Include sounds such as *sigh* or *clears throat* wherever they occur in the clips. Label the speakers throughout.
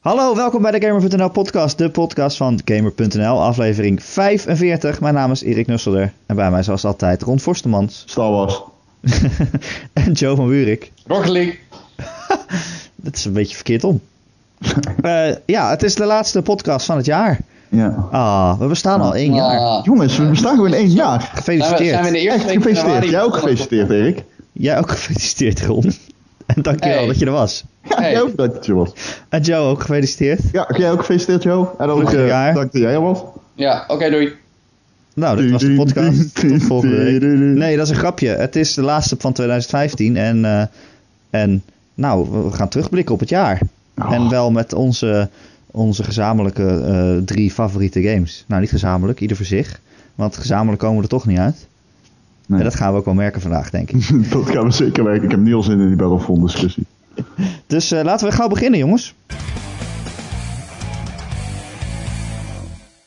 Speaker 1: Hallo, welkom bij de Gamer.nl podcast, de podcast van Gamer.nl, aflevering 45. Mijn naam is Erik Nusselder en bij mij zoals altijd Ron Forstemans
Speaker 2: Star Wars.
Speaker 1: *laughs* en Joe van Wurik.
Speaker 2: Rocket League.
Speaker 1: Dat is een beetje verkeerd
Speaker 3: *laughs*
Speaker 1: om. Eh, ja, het is de laatste podcast van het jaar.
Speaker 2: Ja.
Speaker 1: Ah, we bestaan al één jaar.
Speaker 3: Ah.
Speaker 2: Jongens, we bestaan gewoon één jaar.
Speaker 3: Zijn we, zijn we in
Speaker 1: Gefeliciteerd.
Speaker 3: de eerste
Speaker 2: Echt
Speaker 3: week
Speaker 2: gefeliciteerd.
Speaker 3: januari
Speaker 2: Jij ook
Speaker 3: begonnen?
Speaker 2: gefeliciteerd, Erik.
Speaker 1: Jij ook *laughs* gefeliciteerd Ron. En dankjewel
Speaker 3: Hey.
Speaker 1: dat je er was.
Speaker 2: Ja,
Speaker 3: Hey.
Speaker 2: jij ook dat het je was.
Speaker 1: En Joe ook gefeliciteerd.
Speaker 2: Ja, jij ook gefeliciteerd, Jo. En ook
Speaker 1: Goed
Speaker 2: eh,
Speaker 1: jaar.
Speaker 2: dank dat jij er was.
Speaker 3: Ja, oké, doei.
Speaker 1: Nou, dit was de podcast. Tot volgende week.
Speaker 2: Mhm.
Speaker 1: Nee, dat is een grapje. Het is de laatste van 2015 en, eh, en nou, we gaan terugblikken op het jaar.
Speaker 2: Oh.
Speaker 1: En wel met onze, onze gezamenlijke eh, drie favoriete games. Nou, niet gezamenlijk, ieder voor zich. Want gezamenlijk komen we er toch niet uit.
Speaker 2: Nee. Mhm.
Speaker 1: En dat gaan we ook wel merken vandaag, denk ik.
Speaker 2: *laughs* dat gaan we zeker werken. Ik heb nu al zin in die Battlefront discussie.
Speaker 1: Dus eh, laten we gauw beginnen, jongens.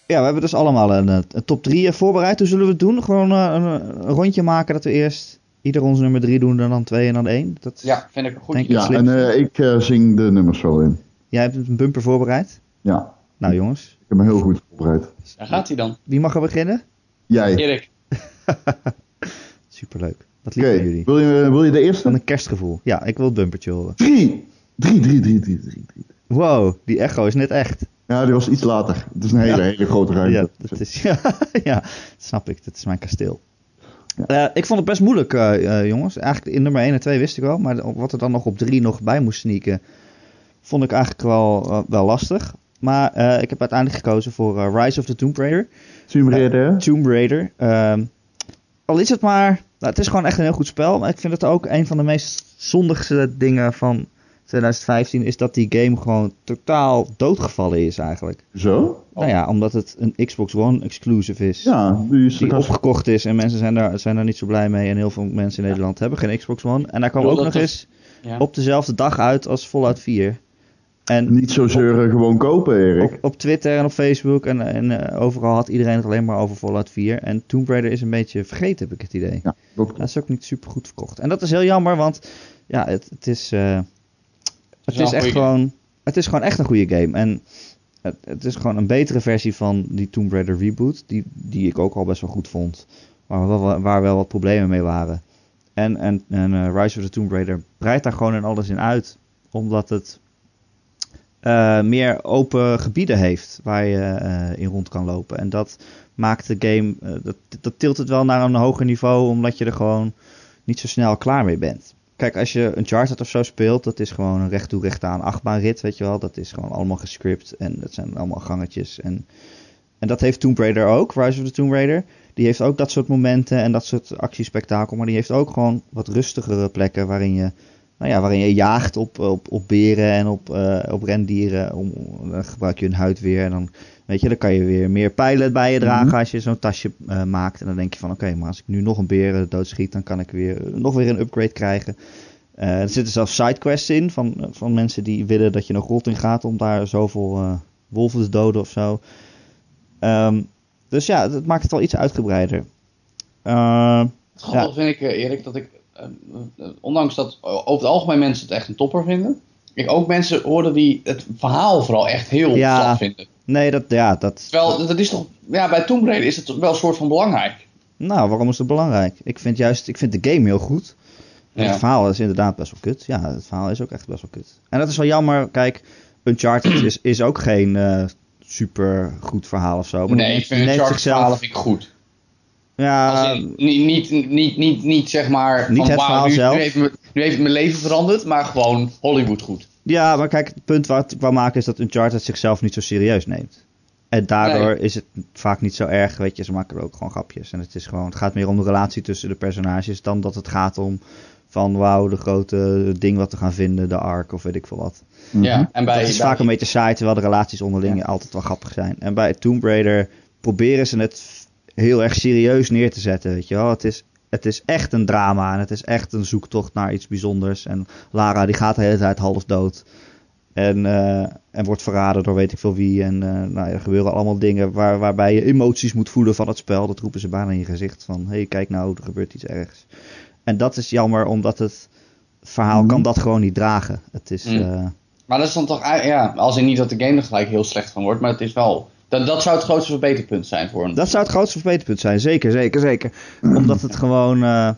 Speaker 1: Ja, we hebben dus allemaal een, eh, een top 3 voorbereid. Hoe zullen we het doen? Gewoon eh, een, een rondje maken dat we eerst ieder ons nummer 3 doen, en dan 2 en dan 1. Dat...
Speaker 3: Ja, vind ik een goed
Speaker 1: Denk
Speaker 3: idee.
Speaker 2: Ja,
Speaker 1: slim.
Speaker 2: en eh, ik eh, zing de nummers wel in.
Speaker 1: Jij hebt een bumper voorbereid.
Speaker 2: Ja,
Speaker 1: Nou, jongens,
Speaker 2: ik heb me heel goed voorbereid.
Speaker 3: Daar gaat hij dan.
Speaker 1: wie mag er beginnen?
Speaker 2: Jij.
Speaker 3: Erik.
Speaker 1: Superleuk. Dat
Speaker 2: Oké,
Speaker 1: liep van jullie.
Speaker 2: wil, je, eh, wil je de
Speaker 1: Van
Speaker 2: eerste?
Speaker 1: een kerstgevoel. Ja, ik wil het bumpertje horen.
Speaker 2: Drie. Drie, drie, drie, drie, drie. drie.
Speaker 1: Wow, die echo is net echt.
Speaker 2: Ja, die was iets later. Het is een hele,
Speaker 1: Ja.
Speaker 2: hele grote ruimte.
Speaker 1: Ja, dat is, *laughs* ja, ja, snap ik. Dat is mijn kasteel.
Speaker 2: Ja.
Speaker 1: Eh, ik vond het best moeilijk, eh, eh, jongens. Eigenlijk in nummer 1 en 2 wist ik wel. Maar wat er dan nog op 3 nog bij moest sneaken, vond ik eigenlijk wel, eh, wel lastig. Maar eh, ik heb uiteindelijk gekozen voor eh, Rise of the Tomb Raider.
Speaker 2: Tomb Raider.
Speaker 1: Tomb Raider. Ehm, al is het maar... Nou, het is gewoon echt een heel goed spel. Maar ik vind het ook een van de meest zondigste dingen van 2015... is dat die game gewoon totaal doodgevallen is eigenlijk.
Speaker 2: Zo?
Speaker 3: Oh.
Speaker 1: Nou ja, omdat het een Xbox One exclusive is.
Speaker 2: Ja, die is
Speaker 1: Die
Speaker 2: hartstikke-
Speaker 1: opgekocht is en mensen zijn daar, zijn daar niet zo blij mee. En heel veel mensen in Nederland hebben geen Xbox One. En hij kwam
Speaker 3: Wil
Speaker 1: ook
Speaker 3: dat
Speaker 1: nog
Speaker 3: toch-
Speaker 1: eens
Speaker 3: Ja.
Speaker 1: op dezelfde dag uit als Fallout 4. En
Speaker 2: Niet zo zeuren, gewoon kopen, Erik.
Speaker 1: op, op Twitter en op Facebook en, en eh, overal had iedereen het alleen maar over Fallout 4. En Tomb Raider is een beetje vergeten, heb ik het idee.
Speaker 2: Ja, dat
Speaker 1: Dat is ook niet super goed verkocht. En dat is heel jammer, want ja, het, het is, eh, het
Speaker 3: wel
Speaker 1: is
Speaker 3: een
Speaker 1: echt
Speaker 3: goeie
Speaker 1: gewoon, het is gewoon echt een goede game. En het, het is gewoon een betere versie van die Tomb Raider reboot, die, die ik ook al best wel goed vond, waar wel, waar wel wat problemen mee waren. En, en, en eh, Rise of the Tomb Raider breidt daar gewoon in alles in uit, omdat het eh, meer open gebieden heeft waar je eh, in rond kan lopen. En dat maakt de game, eh, dat, dat tilt het wel naar een hoger niveau, omdat je er gewoon niet zo snel klaar mee bent. Kijk, als je een Charter of zo speelt, dat is gewoon een recht toe recht aan achtbaanrit, weet je wel. Dat is gewoon allemaal gescript en dat zijn allemaal gangetjes. En, en dat heeft Tomb Raider ook, Rise of the Tomb Raider. Die heeft ook dat soort momenten en dat soort actiespektakel. Maar die heeft ook gewoon wat rustigere plekken waarin je, nou ja, waarin je jaagt op, op, op beren en op, eh, op rendieren. Om, dan gebruik je hun huid weer en dan, weet je, dan kan je weer meer pijlen bij je dragen
Speaker 2: Mhm.
Speaker 1: als je zo'n tasje eh, maakt. En dan denk je van, oké, maar als ik nu nog een beren doodschiet, dan kan ik weer, eh, nog weer een upgrade krijgen. Eh, er zitten zelfs sidequests in van, eh, van mensen die willen dat je nog rot in gaat om daar zoveel eh, wolven te doden of zo. Ehm, dus ja, dat maakt het wel iets uitgebreider. Ehm,
Speaker 3: Het grappige vind ik, eh, Erik, dat ik, eh, eh, ondanks dat eh, over het algemeen mensen het echt een topper vinden, ik ook mensen hoorde die het verhaal vooral echt heel
Speaker 1: Ja.
Speaker 3: plat vinden.
Speaker 1: nee, dat, ja, dat.
Speaker 3: Terwijl, dat- dat is toch, ja, bij Tomb Raider is het wel een soort van belangrijk.
Speaker 1: Nou, waarom is dat belangrijk? Ik vind juist, ik vind de game heel goed. En
Speaker 3: Ja.
Speaker 1: het verhaal is inderdaad best wel kut. Ja, het verhaal is ook echt best wel kut. En dat is wel jammer. Kijk, Uncharted is, is ook geen eh, super goed verhaal of zo. Maar
Speaker 3: nee,
Speaker 1: die
Speaker 3: ik vind het
Speaker 1: neemt
Speaker 3: Charter
Speaker 1: zichzelf-
Speaker 3: 12 vind ik goed.
Speaker 1: Ja,
Speaker 3: Als in, niet, niet, niet, niet, niet zeg maar,
Speaker 1: Niet
Speaker 3: van,
Speaker 1: het
Speaker 3: wauw,
Speaker 1: verhaal
Speaker 3: nu,
Speaker 1: zelf.
Speaker 3: Nu heeft, me- nu heeft mijn leven veranderd, maar gewoon Hollywood goed.
Speaker 1: Ja, maar kijk, het punt waar ik wou maken is dat Uncharted zichzelf niet zo serieus neemt. En daardoor is het vaak niet zo erg, weet je, ze maken er ook gewoon grapjes. En het, is gewoon, het gaat meer om de relatie tussen de personages dan dat het gaat om van wauw, de grote ding wat we gaan vinden, de arc of weet ik veel wat.
Speaker 2: Mhm.
Speaker 3: Ja, en bij,
Speaker 1: Het Mhm. is
Speaker 3: bij-
Speaker 1: vaak een beetje saai, terwijl de relaties onderling
Speaker 3: Ja.
Speaker 1: altijd wel grappig zijn. En bij Tomb Raider proberen ze het f- heel erg serieus neer te zetten, weet je wel. Het is, het is echt een drama en het is echt een zoektocht naar iets bijzonders. En Lara die gaat de hele tijd half dood en, eh, en wordt verraden door weet ik veel wie. En eh, nou, ja, er gebeuren allemaal dingen waar, waarbij je emoties moet voelen van het spel. Dat roepen ze bijna in je gezicht van, hé hey, kijk nou, er gebeurt iets ergs. En dat is jammer, omdat het verhaal
Speaker 2: Mhm.
Speaker 1: kan dat gewoon niet dragen. Het is...
Speaker 3: Mm.
Speaker 1: eh,
Speaker 3: Maar dat is dan toch, ei- ja, als in niet dat de game er gelijk heel slecht van wordt, maar het is wel. Dat, dat zou het grootste verbeterpunt zijn voor een.
Speaker 1: Dat zou het grootste verbeterpunt zijn, zeker, zeker, zeker. Omdat het gewoon, eh,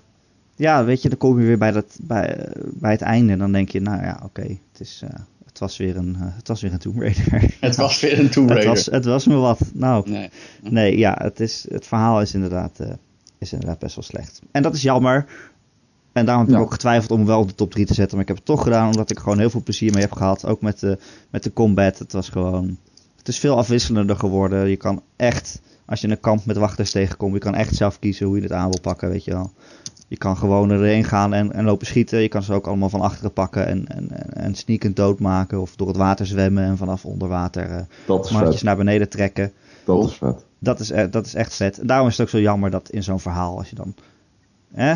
Speaker 1: ja, weet je, dan kom je weer bij, dat, bij, eh, bij het einde en dan denk je, nou ja, oké, het is, eh, het was weer een, eh, het was weer een Tomb Raider. *laughs*
Speaker 3: Het was weer een Tomb
Speaker 1: het,
Speaker 3: Raider.
Speaker 1: was, het was me wat. Nou,
Speaker 3: Nee.
Speaker 1: Nee, ja, het, is, het verhaal is inderdaad, eh, is inderdaad best wel slecht. En dat is jammer. En daarom heb ik
Speaker 2: Ja.
Speaker 1: ook getwijfeld om hem wel op de top 3 te zetten. Maar ik heb het toch gedaan, omdat ik gewoon heel veel plezier mee heb gehad. Ook met de, met de combat. Het was gewoon... Het is veel afwisselender geworden. Je kan echt, als je een kamp met wachters tegenkomt... je kan echt zelf kiezen hoe je het aan wil pakken, weet je wel. Je kan gewoon erheen gaan en, en lopen schieten. Je kan ze ook allemaal van achteren pakken en, en, en- en sneakend doodmaken. Of door het water zwemmen en vanaf onder water eh
Speaker 2: Dat is
Speaker 1: mannetjes
Speaker 2: vet.
Speaker 1: naar beneden trekken.
Speaker 2: Dat is vet.
Speaker 1: Dat is, eh, dat is echt vet. En daarom is het ook zo jammer dat in zo'n verhaal, als je dan. Hè,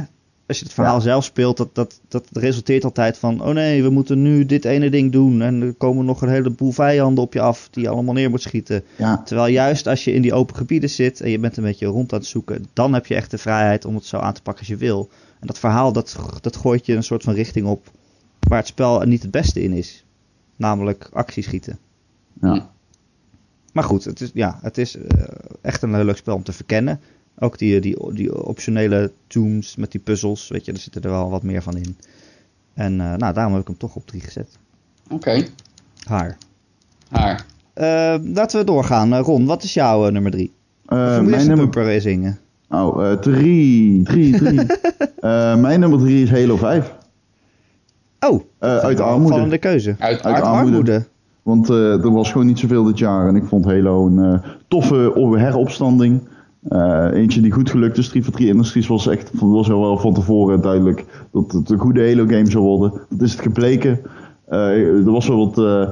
Speaker 1: als je het verhaal
Speaker 2: Ja.
Speaker 1: zelf speelt, dat, dat, dat resulteert altijd van: oh nee, we moeten nu dit ene ding doen. En er komen nog een heleboel vijanden op je af die je allemaal neer moet schieten.
Speaker 2: Ja.
Speaker 1: Terwijl juist als je in die open gebieden zit en je bent een beetje rond aan het zoeken, dan heb je echt de vrijheid om het zo aan te pakken als je wil. En dat verhaal, dat, dat gooit je een soort van richting op waar het spel niet het beste in is. Namelijk actie schieten.
Speaker 2: Ja.
Speaker 1: Maar goed, het is, ja, het is eh, echt een heel leuk spel om te verkennen. Ook die, die, die optionele tombs met die puzzels, weet je, er zitten er wel wat meer van in. En eh, nou, daarom heb ik hem toch op 3 gezet.
Speaker 3: Oké,
Speaker 1: Haar.
Speaker 3: haar.
Speaker 1: Eh, laten we doorgaan. Eh, Ron, wat is jouw eh, nummer 3?
Speaker 2: Eh,
Speaker 1: mijn
Speaker 2: mijn nummer...
Speaker 1: nummer is Inge.
Speaker 2: Oh, eh, drie. Drie, drie. Eh, mijn nummer drie is Halo 5.
Speaker 1: Oh,
Speaker 2: Eh, uit
Speaker 1: een
Speaker 2: armoede.
Speaker 1: opvallende keuze.
Speaker 3: Uit
Speaker 2: Uit
Speaker 3: Ar-
Speaker 2: Ar- armoede. Want eh, er was gewoon niet zoveel dit jaar. En ik vond Halo een eh, toffe op- heropstanding. Eh, eentje die goed gelukt is. 3 voor 3 Industries was echt was al wel van tevoren duidelijk dat het een goede Halo game zou worden. Dat is het gebleken. Eh, er was wel wat eh, eh,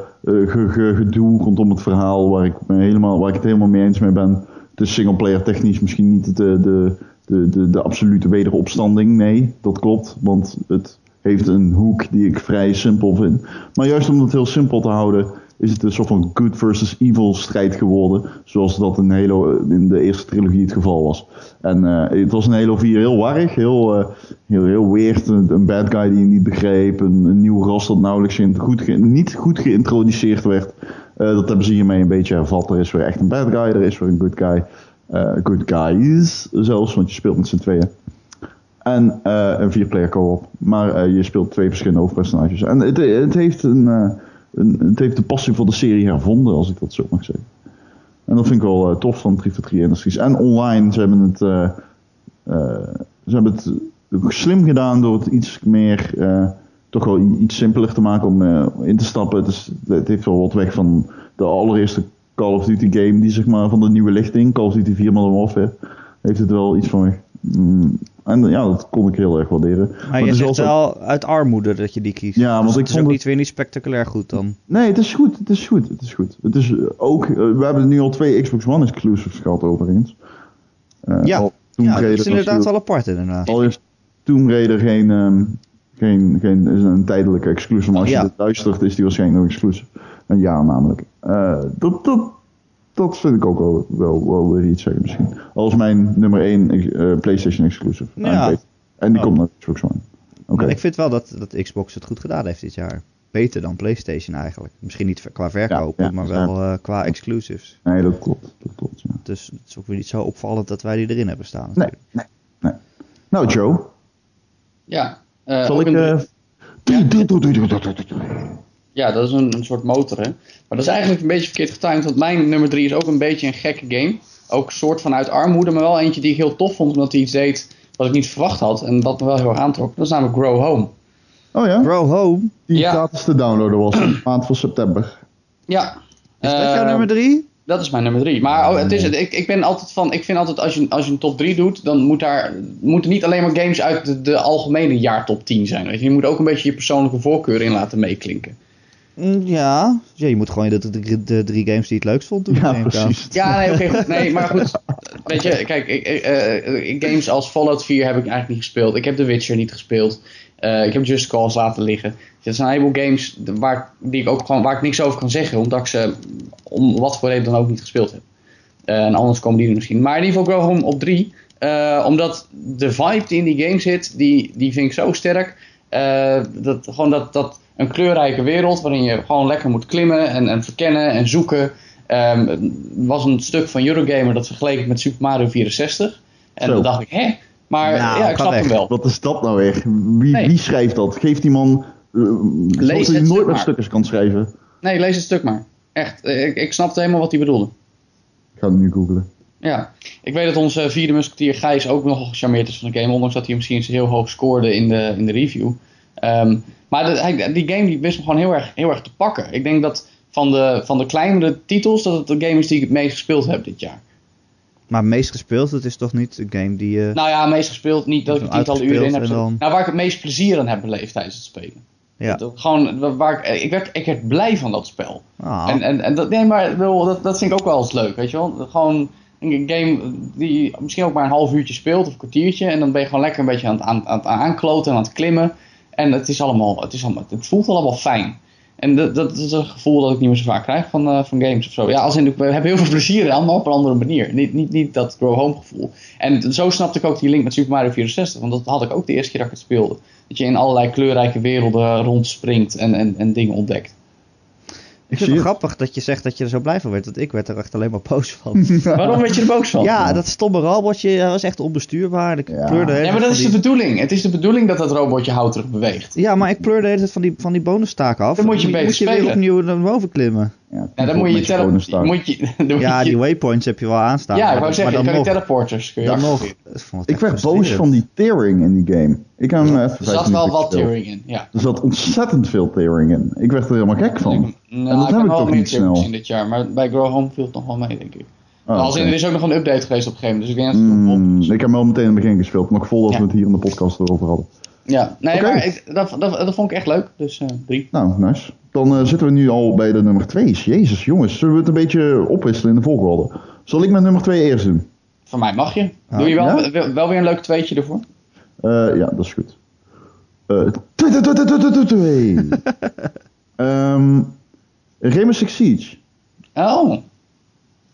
Speaker 2: ge- ge- gedoe rondom het verhaal waar ik, me helemaal, waar ik het helemaal mee eens mee ben. Het is singleplayer technisch misschien niet de, de, de, de, de absolute wederopstanding. Nee, dat klopt. Want het heeft een hoek die ik vrij simpel vind. Maar juist om het heel simpel te houden, is het een soort van good versus evil strijd geworden. Zoals dat in, Halo, eh, in de eerste trilogie het geval was. En eh, het was in Halo 4 heel warrig, heel, eh, heel, heel weird. Een, een bad guy die je niet begreep. Een, een nieuw ras dat nauwelijks in- goed ge- niet goed geïntroduceerd werd. Eh, dat hebben ze hiermee een beetje hervat. Er is weer echt een bad guy, er is weer een good guy. Eh, good guys zelfs, want je speelt met z'n tweeën. En eh, een vierplayer co-op. Maar eh, je speelt twee verschillende hoofdpersonages. En het, het, heeft een, eh, een, het heeft de passie voor de serie hervonden, als ik dat zo mag zeggen. En dat vind ik wel eh, tof van 3 voor 3 Industries. En online, ze hebben het, eh, eh, ze hebben het slim gedaan door het iets meer, eh, toch wel i- iets simpeler te maken om eh, in te stappen. Het, is, het heeft wel wat weg van de allereerste Call of Duty game, die zeg maar van de nieuwe lichting, Call of Duty 4 Modern Warfare, heeft het wel iets van weg. Mm, en ja, dat kon ik heel erg waarderen.
Speaker 1: Maar
Speaker 2: het
Speaker 1: je
Speaker 2: is
Speaker 1: zegt
Speaker 2: altijd-
Speaker 1: wel uit armoede dat je die kiest.
Speaker 2: Ja, want
Speaker 1: dus
Speaker 2: ik
Speaker 1: het is
Speaker 2: vond
Speaker 1: ook
Speaker 2: het-
Speaker 1: niet weer niet spectaculair goed dan.
Speaker 2: Nee, het is goed. Het is goed. Het is goed. Het is eh, ook. eh, we hebben nu al twee Xbox One exclusives gehad, overigens. Eh,
Speaker 1: Ja.
Speaker 2: al Tomb
Speaker 1: Ja, dat
Speaker 2: Raider
Speaker 1: is inderdaad
Speaker 2: natuurlijk-
Speaker 1: wel apart inderdaad.
Speaker 2: Al heeft Tomb Raider geen. ehm, geen, geen is een tijdelijke exclusive. Maar als
Speaker 1: Ja.
Speaker 2: je dit luistert, is die waarschijnlijk nog exclusive. Een jaar namelijk. Eh, dat, dat, dat vind ik ook wel, wel, wel weer iets zeggen, misschien. Als mijn nummer 1 PlayStation exclusive.
Speaker 1: Ja.
Speaker 2: En, en die
Speaker 1: Oh.
Speaker 2: komt naar Xbox One. Oké.
Speaker 1: Maar ik vind wel dat, dat Xbox het goed gedaan heeft dit jaar. Beter dan PlayStation eigenlijk. Misschien niet ver- qua verkoop,
Speaker 2: Ja, ja,
Speaker 1: maar
Speaker 2: ja.
Speaker 1: wel eh, qua exclusives.
Speaker 2: Nee, dat klopt. Dat klopt, ja.
Speaker 1: Dus het is ook weer niet zo opvallend dat wij die erin hebben staan.
Speaker 2: Nee,
Speaker 1: natuurlijk.
Speaker 2: nee, nee. Nou, Joe.
Speaker 3: Ja. eh,
Speaker 2: Zal
Speaker 3: ook
Speaker 2: ik...
Speaker 3: een-
Speaker 2: eh,
Speaker 3: Ja.
Speaker 2: doe, doe, doe, doe, doe, doe, doe.
Speaker 3: Ja, dat is een, een soort motor, hè. Maar dat is eigenlijk een beetje verkeerd getimed, want mijn nummer 3 is ook een beetje een gekke game. Ook een soort van uit armoede, maar wel eentje die ik heel tof vond, omdat hij iets deed wat ik niet verwacht had en wat me wel heel erg aantrok. Dat is namelijk Grow Home.
Speaker 2: *laughs* Oh ja?
Speaker 1: Grow Home,
Speaker 2: Die
Speaker 3: Ja.
Speaker 2: gratis te downloaden was in de maand van september.
Speaker 3: Ja.
Speaker 1: is dat
Speaker 3: Eh,
Speaker 1: jouw nummer 3?
Speaker 3: Dat is mijn nummer 3. Maar oh, het is, het. ik, ik ben altijd van, ik vind altijd als je, als je een top 3 doet, dan moet daar, moeten niet alleen maar games uit de, de algemene jaartop 10 zijn. Weet je? je moet ook een beetje je persoonlijke voorkeur in laten meeklinken.
Speaker 1: Mm, Ja. ja, je moet gewoon de, de, de drie games die je het leukst vond doen.
Speaker 2: Ja,
Speaker 1: neem ik aan.
Speaker 2: precies.
Speaker 3: Ja, nee, oké, goed. Nee, maar goed. Weet je, kijk, ik, ik, eh, eh, games als Fallout 4 heb ik eigenlijk niet gespeeld. Ik heb The Witcher niet gespeeld. Eh, ik heb Just Cause laten liggen. Dat zijn een heleboel games waar, ik- die ik ook gewoon, waar ik niks over kan zeggen, omdat ik ze om wat voor reden dan ook niet gespeeld heb. Eh, en anders komen die er misschien. Maar in ieder geval Go Home op 3. omdat de vibe die in die game zit, die, die vind ik zo sterk. Eh, dat, gewoon dat, dat, een kleurrijke wereld waarin je gewoon lekker moet klimmen en, en verkennen en zoeken. Ehm, Er was een stuk van Eurogamer dat vergeleek ik met Super Mario 64. En
Speaker 2: Zo.
Speaker 3: dan dacht ik, hè? Maar
Speaker 1: Nou,
Speaker 3: ja,
Speaker 1: ga
Speaker 3: ik snap
Speaker 1: weg.
Speaker 3: hem wel.
Speaker 2: Wat is dat nou echt? Wie,
Speaker 3: Oh. Nee.
Speaker 2: wie schrijft dat? Geef die man. eh, zodat
Speaker 3: het
Speaker 2: hij
Speaker 3: stuk
Speaker 2: nooit
Speaker 3: maar.
Speaker 2: meer stukjes kan schrijven.
Speaker 3: Nee, lees het stuk maar. Echt, eh, ik, ik snapte helemaal wat hij bedoelde.
Speaker 2: Ik ga het nu googlen.
Speaker 3: Ja, ik weet dat onze vierde musketier Gijs ook nogal gecharmeerd is van de game. Ondanks dat hij hem misschien eens heel hoog scoorde in de, in de review. Ehm, maar de- hij- die game die wist me gewoon heel erg, heel erg te pakken. Ik denk dat van de, van de kleinere titels, dat het de game is die ik het meest gespeeld heb dit jaar.
Speaker 1: Maar meest gespeeld, het is toch niet een game die eh, je...
Speaker 3: Nou ja, meest gespeeld, niet dat ik het tientallen uren in heb.
Speaker 1: Uitgespeeld en dan-
Speaker 3: Nou, waar ik het meest plezier aan heb beleefd tijdens het spelen.
Speaker 1: ja.
Speaker 3: Dat- gewoon, wa- waar ik, ik, werd, ik werd blij van dat spel.
Speaker 1: Ah,
Speaker 3: En, eh, en, en dat, nee, maar ik bedoel, dat, dat vind ik ook wel eens leuk, weet je wel. Gewoon een game die misschien ook maar een half uurtje speelt of een kwartiertje. En dan ben je gewoon lekker een beetje aan het, aan, aan het aankloten en aan het klimmen. En het, is allemaal, het, is allemaal, het voelt allemaal fijn. En dat, dat is een gevoel dat ik niet meer zo vaak krijg van, eh, van games of zo. Ja, als in, ik heb heel veel plezier aan, maar op een andere manier. Niet, niet, niet dat grow home gevoel. En zo snapte ik ook die link met Super Mario 64. Want dat had ik ook de eerste keer dat ik het speelde. Dat je in allerlei kleurrijke werelden rondspringt en, en, en dingen ontdekt.
Speaker 1: ik
Speaker 2: zie
Speaker 1: vind het
Speaker 2: het.
Speaker 1: grappig dat je zegt dat je er zo blij van werd. Want ik werd er echt alleen maar boos
Speaker 2: *laughs*
Speaker 1: van.
Speaker 3: Waarom werd je er boos van?
Speaker 1: ja, dat stomme robotje, dat was echt onbestuurbaar. Ik
Speaker 2: Ja.
Speaker 1: pleurde de hele
Speaker 3: Ja,
Speaker 1: tijd
Speaker 3: maar dat
Speaker 1: van
Speaker 3: is
Speaker 1: die-
Speaker 3: de bedoeling. Het is de bedoeling dat dat robotje houterig beweegt.
Speaker 1: Ja, maar ik pleurde de hele tijd van die, van die bonustaak af.
Speaker 3: Dan moet je beter
Speaker 1: moet je weer
Speaker 3: spelen.
Speaker 1: opnieuw naar boven klimmen.
Speaker 2: Ja,
Speaker 3: Ja, dan moet je, tele-
Speaker 2: telefoon staan.
Speaker 3: moet je, *laughs* dan moet
Speaker 1: Ja,
Speaker 3: je-
Speaker 1: die waypoints heb je wel aanstaan.
Speaker 3: ja, ik
Speaker 1: maar-
Speaker 3: wou zeggen, je
Speaker 1: maar
Speaker 3: kan
Speaker 1: dan
Speaker 3: die
Speaker 1: nog,
Speaker 3: teleporters. Kun je
Speaker 1: dan nog.
Speaker 3: activeren.
Speaker 1: Ik vond het
Speaker 2: Ik
Speaker 1: echt
Speaker 2: werd boos
Speaker 1: frustrerend.
Speaker 2: van die tearing in die game. Ik ga hem even
Speaker 3: Er
Speaker 2: vijf
Speaker 3: zat wel
Speaker 2: minuten
Speaker 3: wat
Speaker 2: stil.
Speaker 3: tearing in. Ja.
Speaker 2: Er zat ontzettend veel tearing in. Ik werd er helemaal gek van. en
Speaker 3: Nou,
Speaker 2: Oh. dat
Speaker 3: ik
Speaker 2: heb
Speaker 3: heb
Speaker 2: ik
Speaker 3: wel
Speaker 2: toch
Speaker 3: meer
Speaker 2: niet
Speaker 3: tearing
Speaker 2: snel.
Speaker 3: gezien dit jaar, maar bij Grow Home viel het nog wel mee, denk ik.
Speaker 2: Oh,
Speaker 3: Als in,
Speaker 2: oké.
Speaker 3: er is ook nog een update geweest op een gegeven moment, dus ik denk dat het nog
Speaker 2: Mm,
Speaker 3: op is.
Speaker 2: ik heb hem wel meteen in het begin gespeeld, maar ik voel dat
Speaker 3: Ja.
Speaker 2: we het hier in de podcast erover hadden.
Speaker 3: Ja, nee,
Speaker 2: Oké.
Speaker 3: maar ik- dat, dat, dat vond ik echt leuk, dus eh, drie.
Speaker 2: Nou, nice. Dan eh, zitten we nu al bij de nummer 2. Jezus, jongens, zullen we het een beetje opwisselen in de volgorde? Zal ik mijn nummer 2 eerst doen?
Speaker 3: Van mij mag je. Doe je wel,
Speaker 2: Ah, ja?
Speaker 3: wel, wel weer een leuk tweetje ervoor?
Speaker 2: Eh, ja, dat is goed. Eh, *laughs* twee, twee, twee, twee, twee, twee, twee. Ehm, Rainbow Six Siege.
Speaker 3: Oh,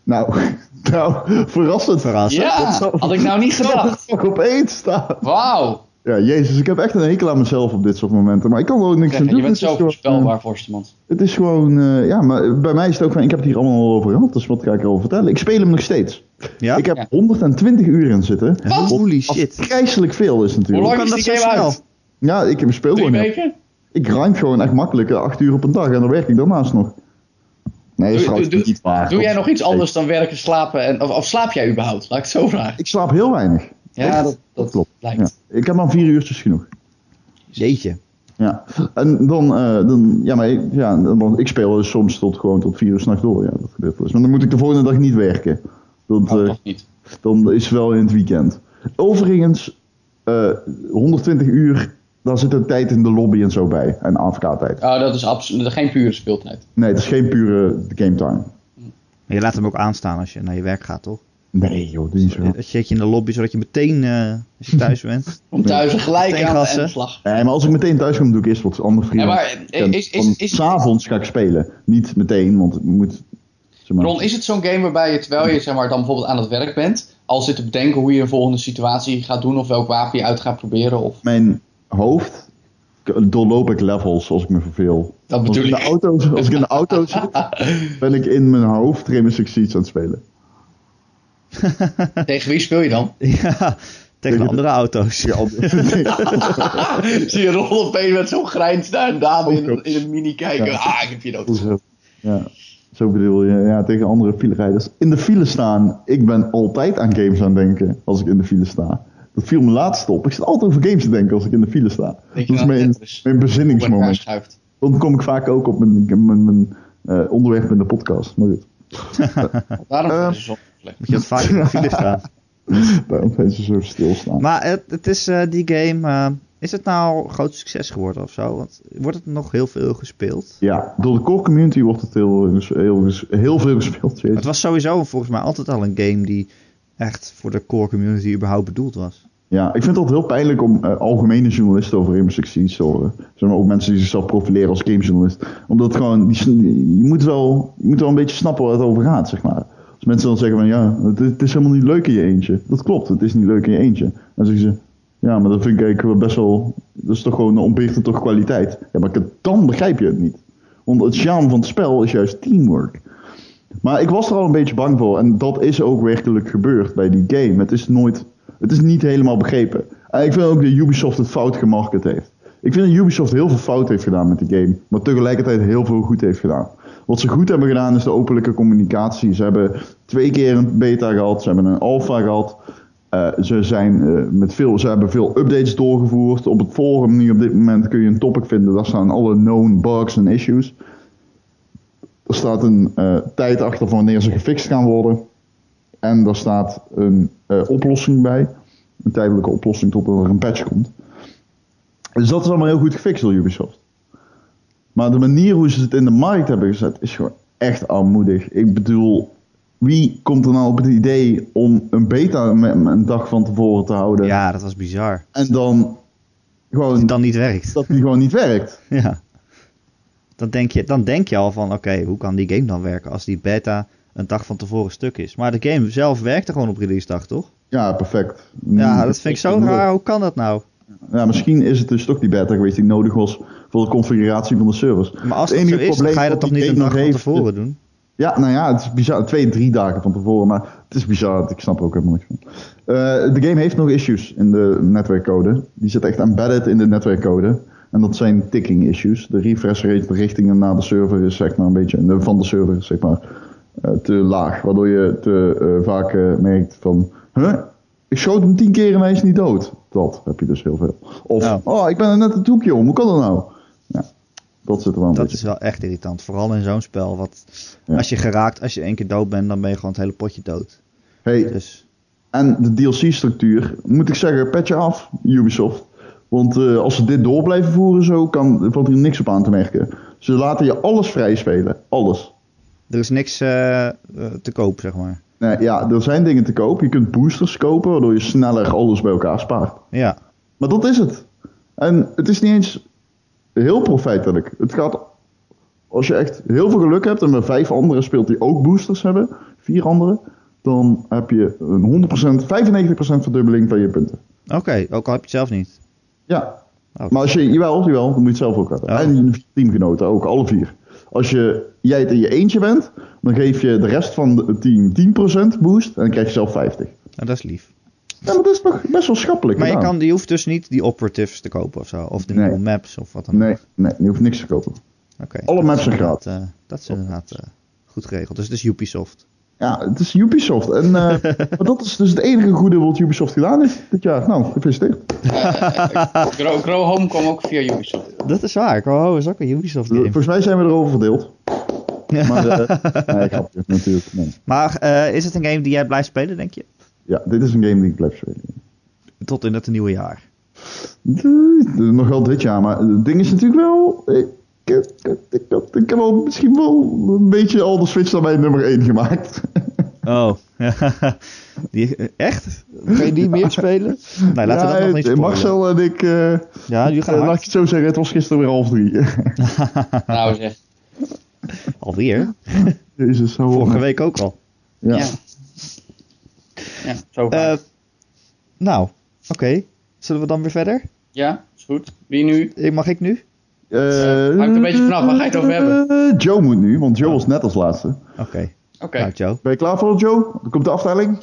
Speaker 2: Nou, *laughs* nou verrassend.
Speaker 1: Verrassend.
Speaker 3: ja, had ik
Speaker 2: *laughs*
Speaker 3: nou niet gedacht.
Speaker 2: Toch op één staat.
Speaker 3: Wauw.
Speaker 2: Ja, jezus, ik heb echt een hekel aan mezelf op dit soort momenten. Maar ik kan er ook niks aan
Speaker 3: Zeg,
Speaker 2: doen.
Speaker 3: Je bent
Speaker 2: Het is
Speaker 3: zo
Speaker 2: gewoon,
Speaker 3: voorspelbaar, Forstemans.
Speaker 2: eh, Het is gewoon, eh, ja, maar bij mij is het ook van, ik heb het hier allemaal al over gehad. Dus wat ga ik erover vertellen? Ik speel hem nog steeds.
Speaker 1: Ja?
Speaker 2: Ik heb
Speaker 3: Ja.
Speaker 2: 120 uur in zitten.
Speaker 3: Wat?
Speaker 1: Holy shit.
Speaker 2: Vreselijk veel is het
Speaker 3: Hoe
Speaker 2: natuurlijk.
Speaker 3: lang
Speaker 1: kan
Speaker 3: is
Speaker 1: dat
Speaker 3: die
Speaker 1: zo
Speaker 3: game
Speaker 1: snel?
Speaker 3: uit?
Speaker 2: Ja, ik speel
Speaker 3: Drie
Speaker 2: gewoon heel
Speaker 3: weken?
Speaker 2: Ik grind gewoon echt makkelijk eh, acht uur op een dag en dan werk ik daarnaast nog. Nee, dat is
Speaker 3: Doe-
Speaker 2: trouwens
Speaker 3: doe-
Speaker 2: niet waar.
Speaker 3: Doe jij
Speaker 2: God.
Speaker 3: nog iets anders dan werken, slapen? En, of, of slaap jij überhaupt? Laat ik het zo vragen.
Speaker 2: Ik slaap heel weinig.
Speaker 3: Ja, dat, dat
Speaker 2: klopt. Ja.
Speaker 3: lijkt.
Speaker 2: Ik heb dan vier uurtjes genoeg.
Speaker 1: Jeetje.
Speaker 2: Ja. En dan, eh, dan ja, maar ik, ja, dan- want ik speel dus soms tot gewoon tot vier uur s'nachts door. Ja, dat gebeurt wel eens. Maar dan moet ik de volgende dag niet werken. Dat,
Speaker 3: Nou,
Speaker 2: eh,
Speaker 3: toch niet.
Speaker 2: dan is het wel in het weekend. Overigens, eh, 120 uur, daar zit ook tijd in de lobby en zo bij. En AFK-tijd.
Speaker 3: Oh, dat is absoluut geen pure speeltijd.
Speaker 2: Nee, het is geen pure game time.
Speaker 1: Maar je laat hem ook aanstaan als je naar je werk gaat, toch?
Speaker 2: Nee joh, dat is niet zo.
Speaker 1: Dat zit je in de lobby, zodat je meteen, eh, als je
Speaker 2: *laughs*
Speaker 1: thuis bent...
Speaker 3: Om thuis er gelijk
Speaker 1: Meteen
Speaker 3: aan
Speaker 1: gassen.
Speaker 3: de slag.
Speaker 2: Nee, maar als ik meteen thuis kom, doe ik eerst wat andere
Speaker 3: Ja,
Speaker 2: vrienden.
Speaker 3: maar eh, is, is, is,
Speaker 2: S'avonds ga ik spelen. Niet meteen, want het moet... Zeg maar,
Speaker 3: Ron, is het zo'n game waarbij je, terwijl je zeg maar, dan bijvoorbeeld aan het werk bent, al zit te bedenken hoe je een volgende situatie gaat doen of welk wapen je uit gaat proberen? Of...
Speaker 2: Mijn hoofd k- doorloop ik levels als ik me verveel.
Speaker 3: Dat
Speaker 2: Als ik,
Speaker 3: bedoel
Speaker 2: in de
Speaker 3: ik.
Speaker 2: auto, als ik in de
Speaker 3: *laughs*
Speaker 2: auto zit, ben ik in mijn hoofd Rainbow Six Siege aan het spelen.
Speaker 3: *laughs* Tegen wie speel je dan?
Speaker 1: ja, tegen de andere auto's.
Speaker 2: Ja, al-
Speaker 3: *laughs* Zie je Ron opeens met zo'n grijns naar een dame in, een- in een mini kijken.
Speaker 2: Ja.
Speaker 3: Ah, ik heb je dood.
Speaker 2: Zo. ja, zo bedoel je. Ja, tegen andere filerijders. In de file staan. Ik ben altijd aan games aan het denken als ik in de file sta. Dat viel me laatst op. Ik zit altijd over games te denken als ik in de file sta.
Speaker 3: Denk
Speaker 2: Dat
Speaker 3: je
Speaker 2: is
Speaker 3: aan
Speaker 2: mijn,
Speaker 3: letters?
Speaker 2: mijn
Speaker 3: Hoe men elkaar
Speaker 2: bezinningsmoment.
Speaker 3: schuift.
Speaker 2: Dan kom ik vaak ook op mijn, mijn, mijn eh, onderwerp in de podcast. Maar goed,
Speaker 3: Daarom
Speaker 2: Eh,
Speaker 3: is het zo slecht.
Speaker 1: Moet je dat vaak in de file
Speaker 2: *laughs*
Speaker 1: staan.
Speaker 2: daarom zijn ze zo stilstaan.
Speaker 1: Maar het, het is eh, die game... eh, is het nou een groot succes geworden of zo? Want wordt het nog heel veel gespeeld?
Speaker 2: Ja, door de core community wordt het heel, heel, heel veel gespeeld.
Speaker 1: Het
Speaker 2: Jezus.
Speaker 1: was sowieso volgens mij altijd al een game die echt voor de core community überhaupt bedoeld was.
Speaker 2: Ja, ik vind het altijd heel pijnlijk om eh, algemene journalisten over Rainbow Six Siege te horen. Zeg maar ook mensen die zichzelf profileren als gamejournalist. Omdat gewoon, die, je, moet wel, je moet wel een beetje snappen waar het over gaat, zeg maar. Als mensen dan zeggen van ja, het, het is helemaal niet leuk in je eentje. Dat klopt, het is niet leuk in je eentje. Dan zeggen ze, Ja, maar dat vind ik eigenlijk best wel. Dat is toch gewoon een ontbreekt toch kwaliteit. Ja, maar ik- dan begrijp je het niet. Want het charme van het spel is juist teamwork. Maar ik was er al een beetje bang voor. En dat is ook werkelijk gebeurd bij die game. Het is nooit. Het is niet helemaal begrepen. En ik vind ook dat Ubisoft het fout gemarket heeft. Ik vind dat Ubisoft heel veel fout heeft gedaan met die game. Maar tegelijkertijd heel veel goed heeft gedaan. Wat ze goed hebben gedaan is de openlijke communicatie. Ze hebben twee keer een beta gehad. Ze hebben een alpha gehad. Eh, ze, zijn, eh, met veel, ze hebben veel updates doorgevoerd. Op het forum nu op dit moment kun je een topic vinden. Daar staan alle known bugs en issues. Er staat een eh, tijd achter van wanneer ze gefixt gaan worden. En daar staat een eh, oplossing bij. Een tijdelijke oplossing totdat er een patch komt. Dus dat is allemaal heel goed gefixt door Ubisoft. Maar de manier hoe ze het in de markt hebben gezet is gewoon echt armoedig. Ik bedoel, wie komt er nou op het idee om een beta me- me- een dag van tevoren te houden?
Speaker 1: Ja, dat was bizar.
Speaker 2: En dan
Speaker 1: Als
Speaker 2: gewoon
Speaker 1: het dan niet werkt. *laughs*
Speaker 2: dat die gewoon niet werkt.
Speaker 1: Ja. Dan denk je, dan denk je al van, oké, hoe kan die game dan werken als die beta een dag van tevoren stuk is? Maar de game zelf werkte gewoon op release dag, toch?
Speaker 2: Ja, perfect. Mm.
Speaker 1: Ja, dat vind ik zo
Speaker 2: raar.
Speaker 1: raar. Hoe kan dat nou?
Speaker 2: Ja, misschien is het dus toch die beta geweest die nodig was voor de configuratie van de servers.
Speaker 1: Maar als
Speaker 2: Het
Speaker 1: dat zo
Speaker 2: enige
Speaker 1: is, dan
Speaker 2: probleem
Speaker 1: ga je dat
Speaker 2: wat
Speaker 1: toch niet
Speaker 2: die
Speaker 1: een
Speaker 2: game
Speaker 1: dag
Speaker 2: nog
Speaker 1: van
Speaker 2: heeft,
Speaker 1: tevoren doen?
Speaker 2: Ja, nou ja, het is bizar. Twee, drie dagen van tevoren, maar het is bizar. Ik snap er ook helemaal niks van. Eh, de game heeft nog issues in de netwerkcode. Die zit echt embedded in de netwerkcode. En dat zijn ticking issues. De refresh rate berichtingen naar de server is zeg maar een beetje, de- van de server is zeg maar eh, te laag. Waardoor je te eh, vaak eh, merkt van, huh? Ik schoot hem tien keer en hij is niet dood. Dat heb je dus heel veel. Of,
Speaker 1: Ja.
Speaker 2: oh, ik ben er net een doekje om. Hoe kan dat nou? Ja, dat zit er wel een
Speaker 1: Dat
Speaker 2: beetje.
Speaker 1: is wel echt irritant. Vooral in zo'n spel. Wat,
Speaker 2: Ja.
Speaker 1: Als je geraakt, als je één keer dood bent, dan ben je gewoon het hele potje dood.
Speaker 2: Hey,
Speaker 1: Dus
Speaker 2: En de DLC-structuur, moet ik zeggen, petje af, Ubisoft. Want eh, als ze dit door blijven voeren, zo kan, valt hier niks op aan te merken. Ze laten je alles vrij spelen. Alles.
Speaker 1: er is niks eh, eh, te koop, zeg maar.
Speaker 2: Nee, ja, er zijn dingen te koop. Je kunt boosters kopen, waardoor je sneller alles bij elkaar spaart.
Speaker 1: Ja,
Speaker 2: Maar dat is het. En het is niet eens heel profijtelijk. Het gaat, als je echt heel veel geluk hebt en met vijf anderen speelt die ook boosters hebben, vier anderen, dan heb je een 100%, 95% verdubbeling van je punten.
Speaker 1: oké. Ook al heb je het zelf niet.
Speaker 2: Ja,
Speaker 1: Oh,
Speaker 2: Maar als je, jawel, jawel, dan moet je het zelf ook hebben.
Speaker 1: Ja.
Speaker 2: En je teamgenoten ook, alle vier. Als je, jij het in je eentje bent, dan geef je de rest van het team 10% boost en dan krijg je zelf 50.
Speaker 1: nou, dat is lief.
Speaker 2: Ja, maar dat is toch best wel schappelijk.
Speaker 1: Maar je,
Speaker 2: gedaan.
Speaker 1: kan, je hoeft dus niet die operatives te kopen of zo. Of de
Speaker 2: Nee.
Speaker 1: nieuwe maps of wat dan ook.
Speaker 2: Nee, nee, je hoeft niks te kopen.
Speaker 1: Oké.
Speaker 2: Alle maps zijn
Speaker 1: Dat,
Speaker 2: gratis.
Speaker 1: eh, dat is inderdaad eh, goed geregeld. Dus het is Ubisoft.
Speaker 2: Ja, het is Ubisoft. En, eh,
Speaker 1: *laughs*
Speaker 2: maar dat is dus het enige goede wat Ubisoft gedaan heeft dit jaar. Nou, gefeliciteerd.
Speaker 3: Grow, Grow Home kwam ook via
Speaker 2: *laughs*
Speaker 3: Ubisoft.
Speaker 1: Dat is waar. Oh, is ook een Ubisoft game.
Speaker 2: Volgens mij zijn we erover
Speaker 1: *laughs*
Speaker 2: verdeeld. Maar, eh nee, grapje, natuurlijk. Nee.
Speaker 1: Maar eh, is het een game die jij blijft spelen, denk je?
Speaker 2: Ja, dit is een game die ik blijf spelen.
Speaker 1: Tot in het nieuwe jaar.
Speaker 2: Eh, Nog wel dit jaar, maar het ding is natuurlijk wel. Ik, ik, ik, ik, ik heb al misschien wel een beetje al de switch naar mijn nummer 1 gemaakt.
Speaker 1: Oh. *laughs* die, eh, echt? Ga je die meer spelen? *laughs* Nee, laten we
Speaker 2: Ja,
Speaker 1: dat nog niet
Speaker 2: het-
Speaker 1: spoilen.
Speaker 2: Marcel en ik. eh,
Speaker 1: Ja, jullie gaan
Speaker 2: eh, laat ik
Speaker 1: hard.
Speaker 2: het zo zeggen, het was gisteren weer half drie. *laughs*
Speaker 3: Nou zeg.
Speaker 1: Alweer?
Speaker 2: Jezus, zo.
Speaker 1: Vorige week ook al.
Speaker 2: Ja.
Speaker 3: Ja. Ja, zo vaak.
Speaker 1: Eh, nou, oké. Zullen we dan weer verder?
Speaker 3: ja, is goed. Wie nu?
Speaker 1: Eh, Mag ik nu?
Speaker 2: Eh,
Speaker 3: hangt een beetje vanaf, waar ga je het over hebben?
Speaker 2: eh, Joe moet nu, want Joe was net als laatste.
Speaker 1: Oké.
Speaker 3: Oké.
Speaker 1: Nou, Joe. *laughs*
Speaker 2: Ben je klaar voor Joe? Dan komt de aftelling.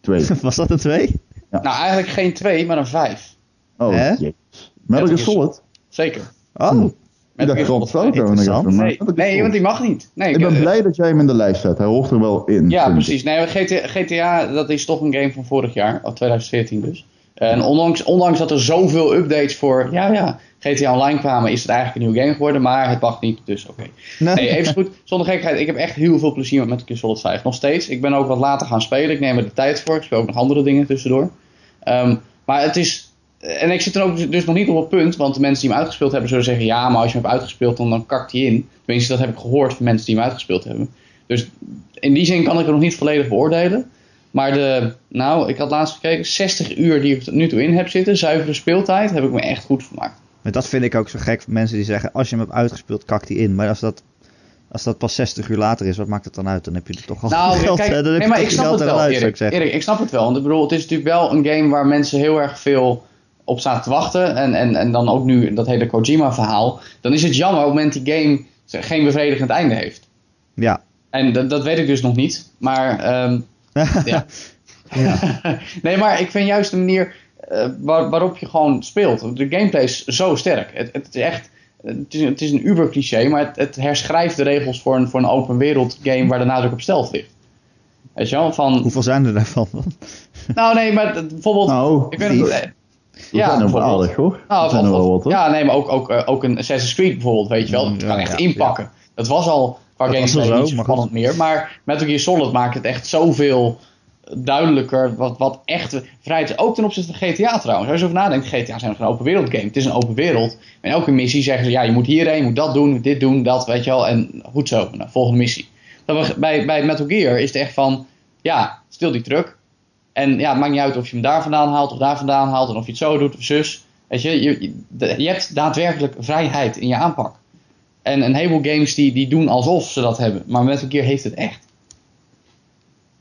Speaker 2: Twee.
Speaker 1: Was dat een twee?
Speaker 3: Nou, eigenlijk geen twee, maar een vijf.
Speaker 2: Oh,
Speaker 1: Hè?
Speaker 2: jezus. Metal Gear Solid.
Speaker 3: Zeker.
Speaker 1: Oh,
Speaker 2: Ik dacht,
Speaker 3: Gear Solid
Speaker 2: God, zou ik
Speaker 3: twee.
Speaker 2: daar nog
Speaker 1: Interessant.
Speaker 2: even, maar
Speaker 3: Nee,
Speaker 2: Metal Gear
Speaker 3: nee,
Speaker 2: Solid.
Speaker 3: want die mag niet. Nee,
Speaker 2: Ik ben
Speaker 3: eh,
Speaker 2: blij dat jij hem in de lijst zet. Hij hoort er wel in.
Speaker 3: Ja,
Speaker 2: vind ik.
Speaker 3: precies. Nee, maar GTA, GTA, dat is toch een game van vorig jaar, of 2014 dus. En ondanks, ondanks dat er zoveel updates voor ja, ja, GTA Online kwamen, is het eigenlijk een nieuwe game geworden, maar het mag niet, dus oké.
Speaker 1: Nee.
Speaker 3: Nee, even goed, zonder gekheid, ik heb echt heel veel plezier met Metal Gear Solid 5. Nog steeds. Ik ben ook wat later gaan spelen, ik neem er de tijd voor, ik speel ook nog andere dingen tussendoor. Ehm, maar het is, en ik zit er ook dus nog niet op het punt, want de mensen die hem uitgespeeld hebben zullen zeggen, ja, maar als je hem hebt uitgespeeld, dan, dan kakt hij in. Tenminste, dat heb ik gehoord van mensen die hem uitgespeeld hebben. Dus in die zin kan ik het nog niet volledig beoordelen. Maar de, nou, ik had laatst gekeken, 60 uur die ik tot nu toe in heb zitten, zuivere speeltijd, heb ik me echt goed vermaakt.
Speaker 1: Maar dat vind ik ook zo gek. Mensen die zeggen, als je hem hebt uitgespeeld, kakt hij in. Maar als dat, Als dat pas 60 uur later is, wat maakt het dan uit? Dan heb je er toch al *laughs*
Speaker 3: Nou,
Speaker 1: geld.
Speaker 3: kijk,
Speaker 1: hè? dan heb
Speaker 3: nee,
Speaker 1: je
Speaker 3: maar
Speaker 1: toch
Speaker 3: ik snap
Speaker 1: geld
Speaker 3: het
Speaker 1: aan
Speaker 3: wel,
Speaker 1: uit, zou ik
Speaker 3: Erik.
Speaker 1: zeggen.
Speaker 3: Erik, ik snap het wel. Want ik bedoel, het is natuurlijk wel een game waar mensen heel erg veel op staan te wachten. En, en, en dan ook nu dat hele Kojima-verhaal. Dan is het jammer op het moment die game geen bevredigend einde heeft.
Speaker 1: Ja.
Speaker 3: En dat, dat weet ik dus nog niet. Maar, ehm, ja. *laughs* nee, maar ik vind juist de manier eh, waar- waarop je gewoon speelt. De gameplay is zo sterk. Het, het is echt... Het is, het is een uber cliché, maar het, het herschrijft de regels voor een, voor een open wereld game waar de nadruk op stealth ligt. Weet je wel? Van,
Speaker 1: *laughs* Hoeveel zijn er
Speaker 3: *laughs*
Speaker 1: daarvan?
Speaker 3: nou, nee, maar dat- bijvoorbeeld.
Speaker 2: Nou,
Speaker 3: ik weet nog-
Speaker 1: Thief.
Speaker 3: eh,
Speaker 2: we zijn er wel aardig hoor.
Speaker 3: Nou,
Speaker 2: we zijn er
Speaker 3: of-
Speaker 2: wel
Speaker 3: of-
Speaker 2: wat hoor.
Speaker 3: ja, nee, maar ook, ook, eh, ook een Assassin's Creed bijvoorbeeld, weet je wel. Dat
Speaker 1: Mm,
Speaker 3: kan
Speaker 1: ja,
Speaker 3: echt
Speaker 1: ja,
Speaker 3: inpakken. Dat was al qua
Speaker 1: Dat was
Speaker 3: gameplay
Speaker 1: al zo,
Speaker 3: niet zo
Speaker 1: maar
Speaker 3: spannend meer. Maar Metal Gear Solid maakt het echt zoveel duidelijker wat, wat echt vrijheid is. Ook ten opzichte van GTA trouwens. Als je over nadenkt, GTA zijn nog een open wereld game. Het is een open wereld. En elke missie zeggen ze, ja, je moet hierheen, je moet dat doen, dit doen, dat, weet je wel. En goed zo, nou, volgende missie. Dan we- bij, bij Metal Gear is het echt van, ja, stil die truck. En ja, het maakt niet uit of je hem daar vandaan haalt of daar vandaan haalt en of je het zo doet of zus. Weet je, je, je- de- je hebt daadwerkelijk vrijheid in je aanpak. En een heleboel games die, die doen alsof ze dat hebben, maar Metal Gear heeft het echt.
Speaker 1: *laughs*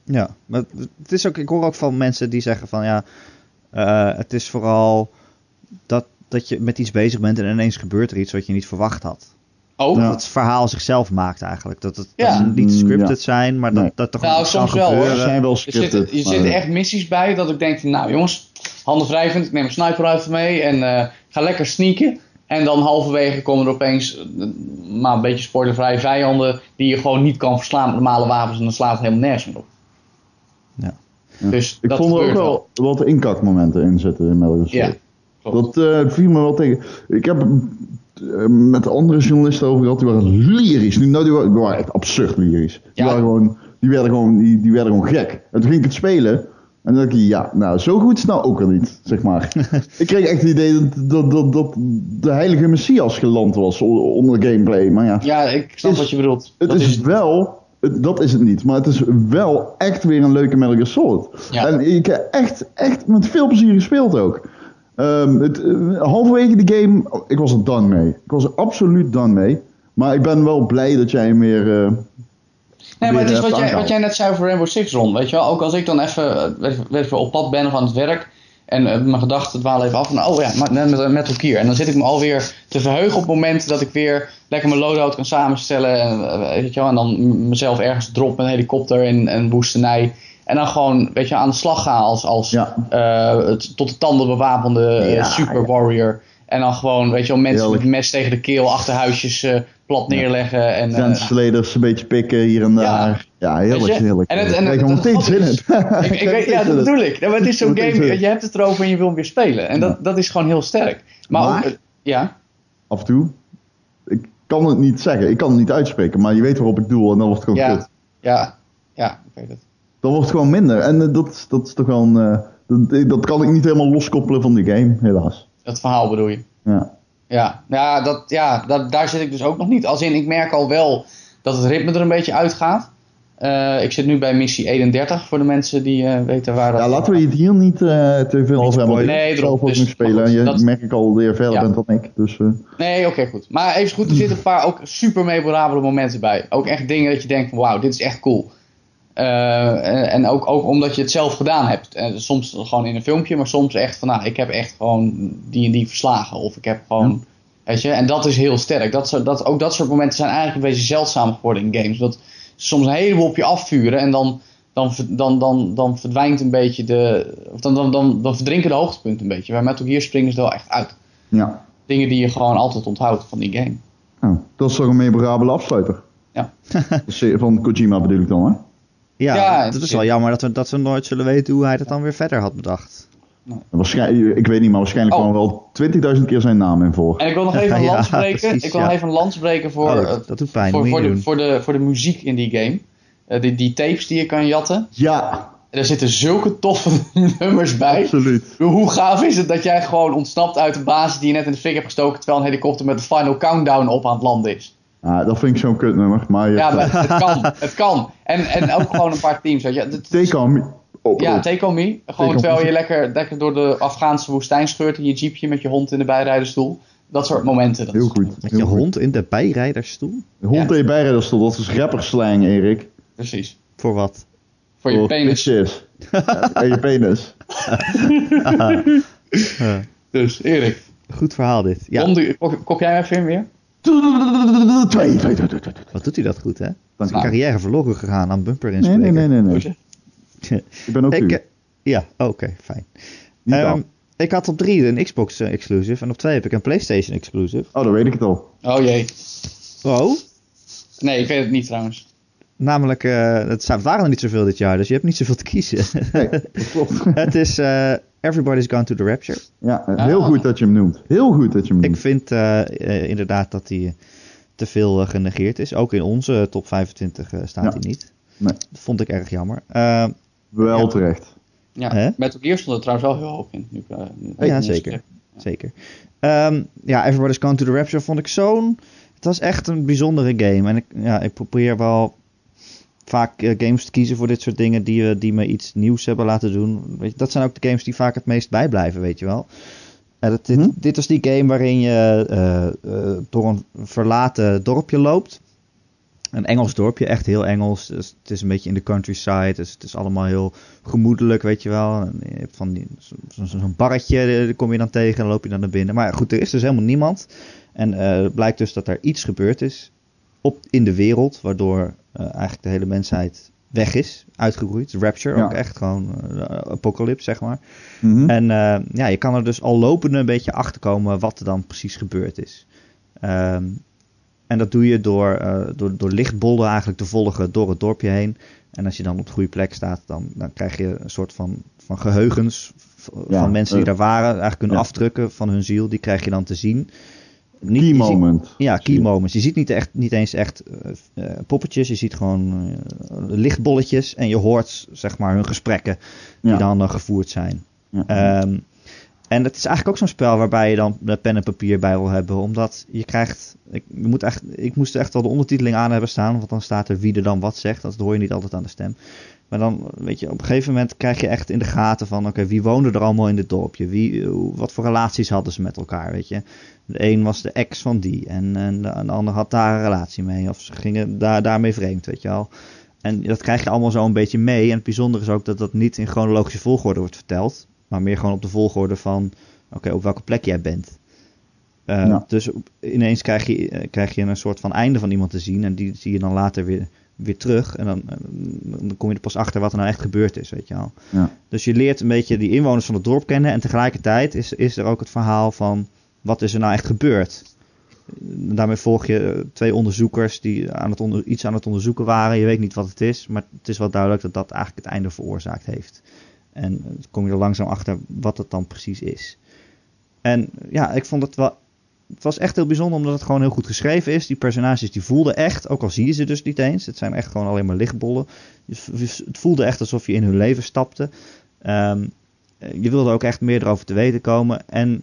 Speaker 1: Ja, maar het is ook, ik hoor ook van mensen die zeggen van ja, eh, het is vooral dat, dat je met iets bezig bent en ineens gebeurt er iets wat je niet verwacht had.
Speaker 3: Ook.
Speaker 1: Dat het verhaal zichzelf maakt eigenlijk. Dat het
Speaker 3: Ja.
Speaker 1: dat ze niet scripted
Speaker 2: Mm, Ja.
Speaker 1: zijn, maar dat,
Speaker 2: Nee.
Speaker 1: dat er
Speaker 3: Nou,
Speaker 1: gewoon iets kan
Speaker 3: soms wel, hoor.
Speaker 2: Er
Speaker 1: gebeuren.
Speaker 2: zijn wel
Speaker 3: Er
Speaker 2: scripted.
Speaker 3: zitten, er
Speaker 2: maar-
Speaker 3: zitten echt missies bij dat ik denk, van, nou jongens, handen wrijvend, ik neem een sniper rifle mee en eh, ga lekker sneaken. En dan halverwege komen er opeens eh, maar een beetje spoilervrije vijanden die je gewoon niet kan verslaan met normale wapens en dan slaat het helemaal nergens meer op.
Speaker 1: Ja.
Speaker 3: Dus
Speaker 2: Ik
Speaker 3: dat
Speaker 2: vond er ook
Speaker 3: gebeurt
Speaker 2: wel wat inkakmomenten in zitten in Metal Gear Solid.
Speaker 3: Ja, klopt.
Speaker 2: Dat eh, viel me wel tegen. Ik heb eh, met andere journalisten over gehad, die waren lyrisch. Die, nou, die, waren, die waren echt absurd lyrisch. Die,
Speaker 3: Ja.
Speaker 2: waren gewoon, die, werden gewoon, die, die werden gewoon gek. En toen ging ik het spelen. En toen dacht ik, ja, nou, zo goed is het nou ook al niet, zeg maar.
Speaker 3: *laughs*
Speaker 2: ik kreeg echt het idee dat, dat, dat, dat de heilige Messias geland was o- onder gameplay. Maar ja,
Speaker 3: Ja, ik snap
Speaker 2: Is-
Speaker 3: wat je bedoelt.
Speaker 2: het
Speaker 3: Dat
Speaker 2: is, wel, het- dat is het niet, maar het is wel echt weer een leuke Metal Gear Solid.
Speaker 3: Ja.
Speaker 2: En ik heb echt, echt met veel plezier gespeeld ook. Ehm, het, eh, halverwege de game, oh, ik was er dan mee. Ik was er absoluut dan mee. Maar ik ben wel blij dat jij hem weer. eh,
Speaker 3: Nee, maar het is
Speaker 2: weer eh, hebt
Speaker 3: wat jij, wat
Speaker 2: aangehaald.
Speaker 3: jij net zei over Rainbow Six Ron, weet je wel. Ook als ik dan even, eh, weet ik- weet ik veel, op pad ben of aan het werk en eh, mijn gedachten dwalen even af van, oh ja, maar net met Metal Gear. En dan zit ik me alweer te verheugen op het moment dat ik weer lekker mijn loadout kan samenstellen en, eh, weet je wel, en dan m- mezelf ergens drop met een helikopter en, en woestenij. En dan gewoon, weet je, aan de slag gaan als, als
Speaker 2: Ja.
Speaker 3: eh, het- tot de tanden bewapende eh,
Speaker 2: Ja,
Speaker 3: super warrior. En dan gewoon, weet je wel, mensen
Speaker 2: Heerlijk.
Speaker 3: met mes tegen de keel achterhuisjes eh, plat neerleggen. En, eh,
Speaker 2: grensverleders een beetje pikken hier en daar. Ja, heerlijk,
Speaker 3: Weet je?
Speaker 2: heerlijk.
Speaker 3: En het- en
Speaker 2: ik
Speaker 3: het-
Speaker 2: krijg er
Speaker 3: het
Speaker 2: meteen
Speaker 3: grappige
Speaker 2: zin in.
Speaker 3: is- ik,
Speaker 2: *laughs*
Speaker 3: ik weet, ja, dat bedoel ik. Ja, maar het is zo'n
Speaker 2: Dat is
Speaker 3: game,
Speaker 2: het.
Speaker 3: je hebt het erover en je wil hem weer spelen. En dat, dat is gewoon heel sterk. Maar,
Speaker 2: Maar-
Speaker 3: ook- ja,
Speaker 2: Af en toe. Ik kan het niet zeggen, ik kan het niet uitspreken, maar je weet waarop ik doel en dan wordt het gewoon
Speaker 3: ja,
Speaker 2: kut.
Speaker 3: ja, ja, ik weet het.
Speaker 2: Dan wordt het gewoon minder. En eh, dat, dat is toch wel een. eh, dat, dat kan ik niet helemaal loskoppelen van de game, helaas.
Speaker 3: Dat verhaal bedoel je.
Speaker 2: Ja.
Speaker 3: Ja, nou ja, dat, ja dat, daar zit ik dus ook nog niet. Als in, ik merk al wel dat het ritme er een beetje uitgaat. Eh, ik zit nu bij missie 31 voor de mensen die eh, weten waar dat
Speaker 2: ja, laten we het hier niet eh, te veel over hebben. want
Speaker 3: spoilen.
Speaker 2: ik
Speaker 3: Nee,
Speaker 2: heb zelf
Speaker 3: erop,
Speaker 2: ook
Speaker 3: dus-
Speaker 2: nog spelen.
Speaker 3: maar
Speaker 2: En
Speaker 3: goed,
Speaker 2: je
Speaker 3: dat-
Speaker 2: merk ik al dat je verder
Speaker 3: Ja.
Speaker 2: bent dan ik. Dus eh,
Speaker 3: Nee, oké, goed. Maar even goed, er zitten een paar ook super memorabele momenten bij. Ook echt dingen dat je denkt van wauw, dit is echt cool. Eh, en- en ook, ook omdat je het zelf gedaan hebt. En soms gewoon in een filmpje, maar soms echt van nou, ik heb echt gewoon die en die verslagen. Of ik heb gewoon, weet je, en dat is heel sterk. Dat, zo- dat, ook dat soort momenten zijn eigenlijk een beetje zeldzaam geworden in games. Dat ze soms een heleboel op je afvuren en dan, dan, ver- dan, dan, dan verdwijnt een beetje de, of dan, dan, dan, dan verdrinken de hoogtepunten een beetje. Bij Metal Gear springen ze er wel echt uit
Speaker 2: ja.
Speaker 3: dingen die je gewoon altijd onthoudt van die game.
Speaker 2: Nou, dat is toch een memorabele afsluiter. eh,
Speaker 3: Ja.
Speaker 2: *laughs* van Kojima bedoel ik dan, hè?
Speaker 1: Ja,
Speaker 3: Ja,
Speaker 1: dat is
Speaker 3: zeker.
Speaker 1: wel jammer dat we, dat we nooit zullen weten hoe hij dat dan weer verder had bedacht.
Speaker 2: Waarschijnlijk, ik weet niet, maar waarschijnlijk
Speaker 3: Oh.
Speaker 2: kwam er wel 20.000 keer zijn naam in voor.
Speaker 3: En ik wil nog even een
Speaker 1: *laughs* Ja,
Speaker 3: lans breken.
Speaker 1: precies,
Speaker 3: ik wil
Speaker 1: ja.
Speaker 3: even een lans breken voor,
Speaker 1: Oh,
Speaker 3: eh,
Speaker 1: dat, dat doet pijn,
Speaker 3: voor,
Speaker 1: moet je
Speaker 3: voor,
Speaker 1: niet
Speaker 3: de,
Speaker 1: doen.
Speaker 3: voor, de, voor de muziek in die game. Eh, die, die tapes die je kan jatten.
Speaker 2: Ja,
Speaker 3: En er zitten zulke toffe *laughs* nummers bij.
Speaker 2: absoluut.
Speaker 3: Hoe gaaf is het dat jij gewoon ontsnapt uit de basis die je net in de fik hebt gestoken. terwijl een helikopter met de final countdown op aan het landen is.
Speaker 2: Ah, dat vind ik zo'n kutnummer. Maar je
Speaker 3: Ja, maar het kan. Het kan. En, en ook gewoon een paar teams. Weet je. Het-
Speaker 2: Take on me. Oh,
Speaker 3: Ja,
Speaker 2: oh.
Speaker 3: take on me. Gewoon
Speaker 2: on
Speaker 3: terwijl
Speaker 2: me.
Speaker 3: je lekker, lekker door de Afghaanse woestijn scheurt in je jeepje met je hond in de bijrijderstoel. dat soort momenten. Dat
Speaker 2: Heel
Speaker 3: is-
Speaker 2: goed.
Speaker 1: Met
Speaker 2: heel
Speaker 1: je
Speaker 2: goed.
Speaker 1: hond in de bijrijdersstoel?
Speaker 2: Hond in je bijrijder stond, dat is rapperslang, Erik.
Speaker 3: Precies.
Speaker 1: Voor wat?
Speaker 3: Voor je
Speaker 2: Voor
Speaker 3: penis.
Speaker 2: Bitches. Oh, en je penis.
Speaker 3: Dus Erik,
Speaker 1: Goed verhaal dit. Ja,
Speaker 3: honden- kop, kop jij even in weer?
Speaker 2: Twee, twee, twee, twee, twee, twee.
Speaker 1: wat doet hij dat goed, hè?
Speaker 2: Dank
Speaker 1: Zijn
Speaker 2: je.
Speaker 1: carrière verloren gegaan aan bumper
Speaker 2: Nee,
Speaker 1: inspreken.
Speaker 2: nee, nee, nee, nee. Ik ben ook
Speaker 1: Ik,
Speaker 2: u.
Speaker 1: eh, ja, oké, fijn.
Speaker 2: Niet
Speaker 1: Ehm,
Speaker 2: af.
Speaker 1: ik had op drie een Xbox eh, exclusive en op twee heb ik een PlayStation exclusive.
Speaker 2: Oh, dan weet ik het al.
Speaker 3: Oh jee.
Speaker 1: Oh,
Speaker 3: Nee, ik weet het niet trouwens.
Speaker 1: namelijk, eh, het za- waren er niet zoveel dit jaar, dus je hebt niet zoveel te kiezen. *laughs*
Speaker 2: Nee, dat klopt.
Speaker 1: het is eh, Everybody's Gone to the Rapture.
Speaker 2: Ja, eh,
Speaker 3: Ah.
Speaker 2: heel goed dat je hem noemt. Heel goed dat je hem
Speaker 1: Ik
Speaker 2: noemt.
Speaker 1: vind eh, eh, inderdaad dat hij eh, te veel eh, genegeerd is. Ook in onze top 25 eh, staat
Speaker 2: Ja.
Speaker 1: hij niet.
Speaker 2: Nee.
Speaker 1: Dat vond ik erg jammer. Eh,
Speaker 2: Wel
Speaker 1: Ja.
Speaker 2: terecht.
Speaker 3: Ja,
Speaker 1: Hè?
Speaker 3: Metal Gear stond er trouwens wel heel hoog in. Nu, ik, eh, nu-
Speaker 1: Ja, zeker. Zeker. Ehm, ja, Everybody's Gone to the Rapture vond ik zo'n... Het was echt een bijzondere game. En ik, ja, ik probeer wel vaak eh, games te kiezen voor dit soort dingen die, eh, die me iets nieuws hebben laten doen. Weet je, dat zijn ook de games die vaak het meest bijblijven, weet je wel. En dat, dit,
Speaker 2: Hm?
Speaker 1: dit was die game waarin je eh, eh, door een verlaten dorpje loopt. Een Engels dorpje, echt heel Engels. Dus het is een beetje in de countryside, dus het is allemaal heel gemoedelijk, weet je wel. En je hebt van die- zo- zo- zo'n barretje, eh, daar kom je dan tegen en dan loop je dan naar binnen. Maar goed, er is dus helemaal niemand. En eh, het blijkt dus dat er iets gebeurd is op, in de wereld, waardoor eh, eigenlijk de hele mensheid weg is, uitgeroeid. Rapture,
Speaker 2: Ja.
Speaker 1: ook echt gewoon eh, apocalypse, zeg maar.
Speaker 2: Mhm.
Speaker 1: En eh, ja, je kan er dus al lopende een beetje achter komen wat er dan precies gebeurd is. Ehm, en dat doe je door, eh, door, door lichtbollen eigenlijk te volgen door het dorpje heen. En als je dan op de goede plek staat, dan, dan krijg je een soort van, van geheugens v-
Speaker 2: Ja,
Speaker 1: van mensen die
Speaker 2: eh,
Speaker 1: daar waren. Eigenlijk hun
Speaker 2: ja.
Speaker 1: afdrukken van hun ziel, die krijg je dan te zien. Niet-
Speaker 2: Key
Speaker 1: je ziet-
Speaker 2: moment.
Speaker 1: ja, key
Speaker 2: Zie je.
Speaker 1: moments. Je ziet niet, echt, niet eens echt eh, eh, poppetjes. Je ziet gewoon eh, lichtbolletjes. En je hoort zeg maar hun gesprekken die
Speaker 2: Ja.
Speaker 1: dan eh, gevoerd zijn.
Speaker 2: Ja.
Speaker 1: Ehm, en het is eigenlijk ook zo'n spel waarbij je dan eh, pen en papier bij wil hebben. Omdat je krijgt... Ik, je moet echt, ik moest echt wel de ondertiteling aan hebben staan. Want dan staat er wie er dan wat zegt. Dat hoor je niet altijd aan de stem. Maar dan, weet je, op een gegeven moment krijg je echt in de gaten van... Oké, wie woonde er allemaal in dit dorpje? Wie, eh, hoe- wat voor relaties hadden ze met elkaar, weet je? De een was de ex van die. En, en de, en de ander had daar een relatie mee. Of ze gingen daar, daarmee vreemd, weet je wel. En dat krijg je allemaal zo een beetje mee. En het bijzondere is ook dat dat niet in chronologische volgorde wordt verteld. Maar meer gewoon op de volgorde van... Oké, op welke plek jij bent. Eh,
Speaker 2: Ja.
Speaker 1: Dus op- ineens krijg je, eh, krijg je een soort van einde van iemand te zien. En die zie je dan later weer, weer terug. En dan, eh, dan kom je er pas achter wat er nou echt gebeurd is, weet je wel.
Speaker 2: Ja.
Speaker 1: Dus je leert een beetje die inwoners van het dorp kennen. En tegelijkertijd is, is er ook het verhaal van wat is er nou echt gebeurd. Daarmee volg je eh, twee onderzoekers die aan het onder, iets aan het onderzoeken waren. Je weet niet wat het is, maar het is wel duidelijk dat dat eigenlijk het einde veroorzaakt heeft. En eh, dan kom je er langzaam achter wat het dan precies is. En ja, ik vond het wel. Het was echt heel bijzonder omdat het gewoon heel goed geschreven is. Die personages die voelden echt, ook al zie je ze dus niet eens. Het zijn echt gewoon alleen maar lichtbollen. Je v- v- Het voelde echt alsof je in hun leven stapte. Ehm, eh, je wilde ook echt meer erover te weten komen. En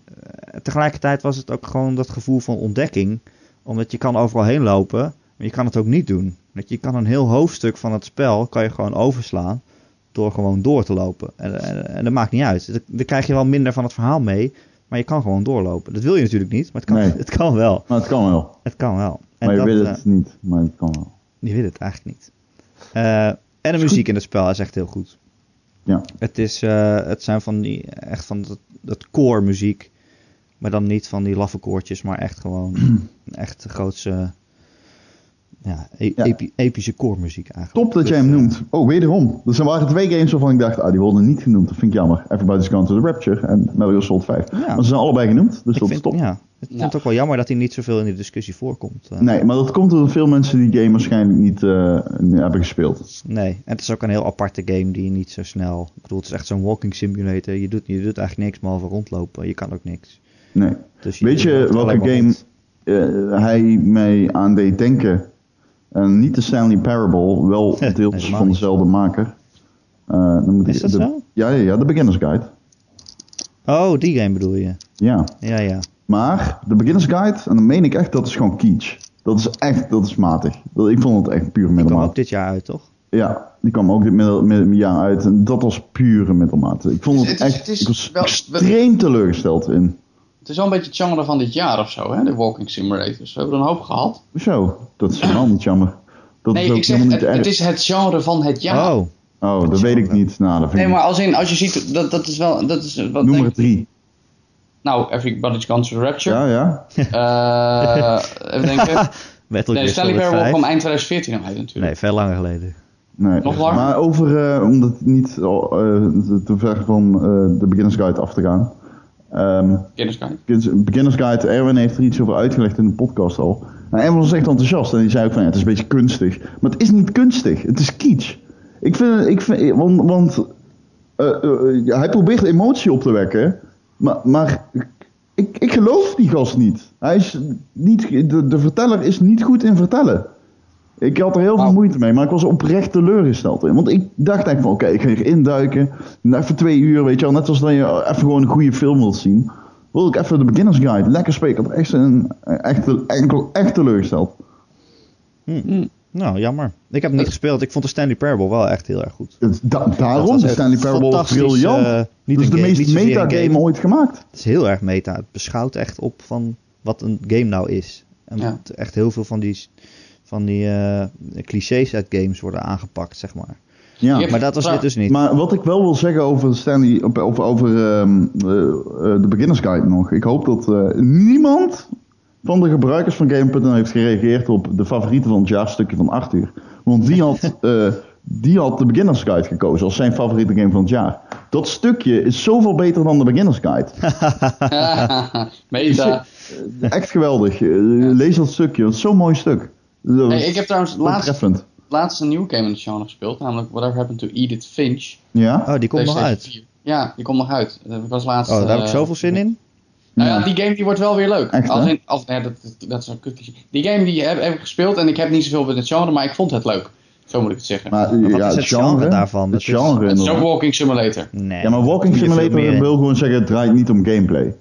Speaker 1: eh, tegelijkertijd was het ook gewoon dat gevoel van ontdekking. Omdat je kan overal heen lopen, maar je kan het ook niet doen. Dat je kan een heel hoofdstuk van het spel kan je gewoon overslaan door gewoon door te lopen. En, en, en dat maakt niet uit. Dan- Dan krijg je wel minder van het verhaal mee, maar je kan gewoon doorlopen. Dat wil je natuurlijk niet, maar het kan,
Speaker 2: Nee.
Speaker 1: *laughs* het kan wel.
Speaker 2: Maar het kan wel.
Speaker 1: Het kan wel. En
Speaker 2: Maar je
Speaker 1: dat,
Speaker 2: wil
Speaker 1: eh,
Speaker 2: het niet. Maar het kan wel.
Speaker 1: je wil het eigenlijk niet. Eh, en de muziek in het spel is echt heel goed.
Speaker 2: Ja.
Speaker 1: Het, is, eh, het zijn van die, echt van dat, dat core muziek. Maar dan niet van die laffe koortjes, maar echt gewoon
Speaker 2: *clears throat*
Speaker 1: echt de grootste, ja, e-
Speaker 2: Ja.
Speaker 1: epi- epische core muziek eigenlijk.
Speaker 2: Top dat
Speaker 1: Dus,
Speaker 2: jij hem
Speaker 1: eh,
Speaker 2: noemt. Oh, wederom. Er zijn- waren twee games waarvan ik dacht, ah, die worden niet genoemd. Dat vind ik jammer. Everybody's Gone to the Rapture en Metal Gear Solid 5. Maar ze zijn allebei genoemd, dus
Speaker 1: ik
Speaker 2: dat
Speaker 1: vind,
Speaker 2: is top.
Speaker 1: Ja, ik vind het
Speaker 3: Ja.
Speaker 1: ook wel jammer dat hij niet zoveel in de discussie voorkomt. eh.
Speaker 2: Nee, maar dat komt omdat veel mensen die game waarschijnlijk niet eh, hebben gespeeld.
Speaker 1: Nee, en het is ook een heel aparte game die je niet zo snel... Ik bedoel, het is echt zo'n walking simulator. Je doet, je doet eigenlijk niks, behalve rondlopen. Je kan ook niks.
Speaker 2: Nee.
Speaker 1: Dus
Speaker 2: Weet je
Speaker 1: loopt alleen
Speaker 2: welke
Speaker 1: maar
Speaker 2: game
Speaker 1: rond.
Speaker 2: eh, hij mij aan deed denken? En niet de Stanley Parable, wel
Speaker 1: *laughs* Nee,
Speaker 2: deels
Speaker 1: helemaal
Speaker 2: van
Speaker 1: niet.
Speaker 2: dezelfde maker. Eh, dan moet
Speaker 1: Is
Speaker 2: ik-
Speaker 1: dat
Speaker 2: de,
Speaker 1: zo?
Speaker 2: Ja, ja, ja, de Beginner's Guide.
Speaker 1: Oh, die game bedoel je.
Speaker 2: Ja.
Speaker 1: Ja, ja.
Speaker 2: Maar de Beginner's Guide, en dan meen ik echt, dat is gewoon kitsch. Dat is echt, dat is matig. Dat, ik vond het echt puur
Speaker 1: Die kwam ook
Speaker 2: middelmaat.
Speaker 1: dit jaar uit, toch?
Speaker 2: Ja, die kwam ook dit middel, middel- jaar uit en dat was pure middelmaat. Ik vond
Speaker 3: Dus
Speaker 2: het
Speaker 3: het is-
Speaker 2: echt,
Speaker 3: het is
Speaker 2: ik was
Speaker 3: wel-
Speaker 2: extreem teleurgesteld in.
Speaker 3: Het is wel een beetje het genre van dit jaar of zo, hè? de walking simulators. We hebben er een hoop gehad.
Speaker 2: Zo, dat is helemaal niet jammer. Dat is
Speaker 3: nee,
Speaker 2: ook
Speaker 3: ik zeg,
Speaker 2: helemaal
Speaker 3: het,
Speaker 2: niet erg.
Speaker 3: het is het genre van het jaar.
Speaker 1: Oh,
Speaker 2: Oh, dat weet ik niet. Nou, dat vind
Speaker 3: Nee,
Speaker 2: ik-
Speaker 3: maar als, in, als je ziet, dat, dat is wel... Dat is, wat
Speaker 2: Noem
Speaker 3: denk
Speaker 2: er
Speaker 3: ik-
Speaker 2: drie.
Speaker 3: Nou, Everybody's Gone to the Rapture.
Speaker 2: Ja, ja.
Speaker 3: Eh, even
Speaker 1: *laughs*
Speaker 3: denken.
Speaker 1: Metal
Speaker 3: Nee,
Speaker 1: Gear
Speaker 3: Stanley
Speaker 1: Solid
Speaker 3: Parable
Speaker 1: 5.
Speaker 3: kwam eind 2014 al uit natuurlijk.
Speaker 1: Nee, veel langer geleden.
Speaker 2: Nee.
Speaker 3: Nog langer?
Speaker 2: Maar over, eh, om dat niet al, eh, te- te ver van eh, de beginners guide af te gaan. Ehm,
Speaker 3: Kindersky.
Speaker 2: Kids- Beginners Guide, Erwin heeft er iets over uitgelegd in de podcast al. Nou, Erwin was echt enthousiast en die zei ook van ja, het is een beetje kunstig. Maar het is niet kunstig, het is kitsch. Ik vind, ik vind want, want eh, eh, ja, hij probeert emotie op te wekken, maar, maar ik, ik geloof die gast niet. Hij is niet de, de verteller is niet goed in vertellen. Ik had er heel veel
Speaker 3: Wauw.
Speaker 2: moeite mee, maar ik was oprecht teleurgesteld in. Want ik dacht eigenlijk van, oké, ik ga hier induiken. Nou, Even twee uur, weet je wel. Net als dat je even gewoon een goede film wilt zien. Wil ik even de beginners guide lekker spelen. Ik had echt, een, echt, enkel, echt teleurgesteld.
Speaker 1: Nou, jammer. Ik heb hem niet gespeeld. Ik vond de Stanley Parable wel echt heel erg goed.
Speaker 2: Het- da-
Speaker 1: Dat
Speaker 2: daarom
Speaker 1: was
Speaker 2: is
Speaker 1: echt
Speaker 2: Stanley Parable
Speaker 1: fantastisch,
Speaker 2: briljant.
Speaker 1: eh, niet
Speaker 2: dat is
Speaker 1: een
Speaker 2: de
Speaker 1: game, niet
Speaker 2: meest
Speaker 1: zozeer een
Speaker 2: metagame
Speaker 1: game.
Speaker 2: ooit gemaakt.
Speaker 1: Het is heel erg meta. Het beschouwt echt op van wat een game nou is. En
Speaker 3: Ja.
Speaker 1: wat echt heel veel van die, van die eh, clichés uit games worden aangepakt, zeg maar.
Speaker 2: Ja.
Speaker 3: Je hebt-
Speaker 1: Maar dat was
Speaker 3: Ja.
Speaker 1: dit dus niet.
Speaker 2: Maar wat ik wel wil zeggen over Stanley, op- of over ehm, eh, eh, de beginners guide nog. Ik hoop dat eh, niemand van de gebruikers van Game.nl heeft gereageerd op de favoriete van het jaar stukje van Arthur. Want die
Speaker 3: *laughs*
Speaker 2: had, eh, die had de beginners guide gekozen als zijn favoriete game van het jaar. Dat stukje is zoveel beter dan de beginners guide.
Speaker 3: *laughs* *laughs* Meta.
Speaker 2: Echt geweldig. Eh, Lees dat stukje, dat is zo'n mooi stuk. Dat
Speaker 3: Hey, ik heb trouwens
Speaker 2: was
Speaker 3: laatst,
Speaker 2: treffend.
Speaker 3: laatst een nieuwe game in het genre gespeeld. Namelijk Whatever Happened to Edith Finch.
Speaker 2: Ja?
Speaker 1: Oh, die komt nog
Speaker 3: PlayStation
Speaker 1: uit.
Speaker 3: 4. Ja, die komt nog uit. Eh, Ik was laatst...
Speaker 1: Oh, daar heb ik
Speaker 3: eh,
Speaker 1: zoveel zin in.
Speaker 3: Nou ja,
Speaker 2: Ja.
Speaker 3: die game die wordt wel weer leuk.
Speaker 2: Echt, hè?
Speaker 3: Als in, als, nee, dat, dat, dat is een kutje. Die game die heb, heb ik gespeeld en ik heb niet zoveel met het genre, maar ik vond het leuk. Zo moet ik het zeggen.
Speaker 2: Maar, eh,
Speaker 1: wat
Speaker 2: ja,
Speaker 1: is het genre daarvan?
Speaker 2: Het
Speaker 1: Dat is-
Speaker 2: genre
Speaker 3: het is ook
Speaker 2: inderdaad.
Speaker 3: Walking Simulator.
Speaker 1: Nee.
Speaker 2: Ja, maar Walking
Speaker 1: Hier veel meer
Speaker 2: Simulator
Speaker 1: in.
Speaker 2: wil gewoon zeggen, het draait niet om gameplay.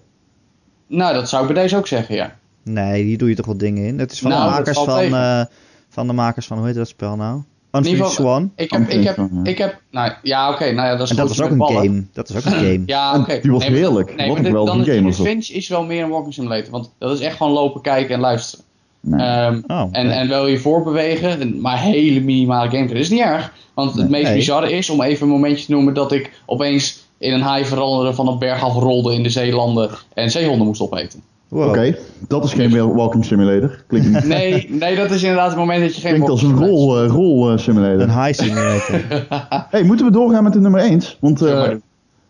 Speaker 3: Nou, dat zou ik bij deze ook zeggen, ja.
Speaker 1: Nee, hier doe je toch wel dingen in. Het is van
Speaker 3: Nou,
Speaker 1: de
Speaker 3: dat
Speaker 1: makers
Speaker 3: valt
Speaker 1: van,
Speaker 3: tegen.
Speaker 1: eh, van de makers van, hoe heet dat spel nou? Until
Speaker 3: geval-
Speaker 1: Swan.
Speaker 3: Ik heb, ik
Speaker 2: Antwoord
Speaker 3: heb,
Speaker 2: van, ja.
Speaker 3: ik heb, nou ja, oké, nou ja, dat is
Speaker 1: En
Speaker 3: goed
Speaker 1: dat was ook
Speaker 3: met
Speaker 1: een
Speaker 3: ballen.
Speaker 1: game. Dat is ook een
Speaker 3: *clears throat*
Speaker 1: game.
Speaker 3: Ja, oké.
Speaker 2: Die was
Speaker 3: maar-
Speaker 2: heerlijk. Wat
Speaker 3: maar
Speaker 2: een
Speaker 3: dit-
Speaker 2: geweldige
Speaker 3: dan is
Speaker 2: game was dat.
Speaker 3: Finch is wel meer een walking simulator, want dat is echt gewoon lopen, kijken en luisteren.
Speaker 2: Nee.
Speaker 3: Ehm,
Speaker 1: Oh,
Speaker 3: en,
Speaker 1: ja.
Speaker 3: en wel je voorbewegen, en- maar hele minimale gameplay. Dat is niet erg, want het meest
Speaker 1: Nee.
Speaker 3: bizarre is, om even een momentje te noemen, dat ik opeens in een haai veranderde van een berg af rolde in de zeelanden en zeehonden
Speaker 2: *laughs*
Speaker 3: moest opeten.
Speaker 1: Wow.
Speaker 2: Oké, dat is geen walking simulator. Klinkt,
Speaker 3: *laughs*
Speaker 2: niet-
Speaker 3: Nee, nee, dat is inderdaad het moment dat je geen
Speaker 2: klinkt als een
Speaker 3: walking simulator-
Speaker 2: rol, eh, rol eh, simulator.
Speaker 1: Een high simulator.
Speaker 3: *laughs*
Speaker 2: hey, moeten we doorgaan met de nummer 1? Want eh,
Speaker 3: Ja,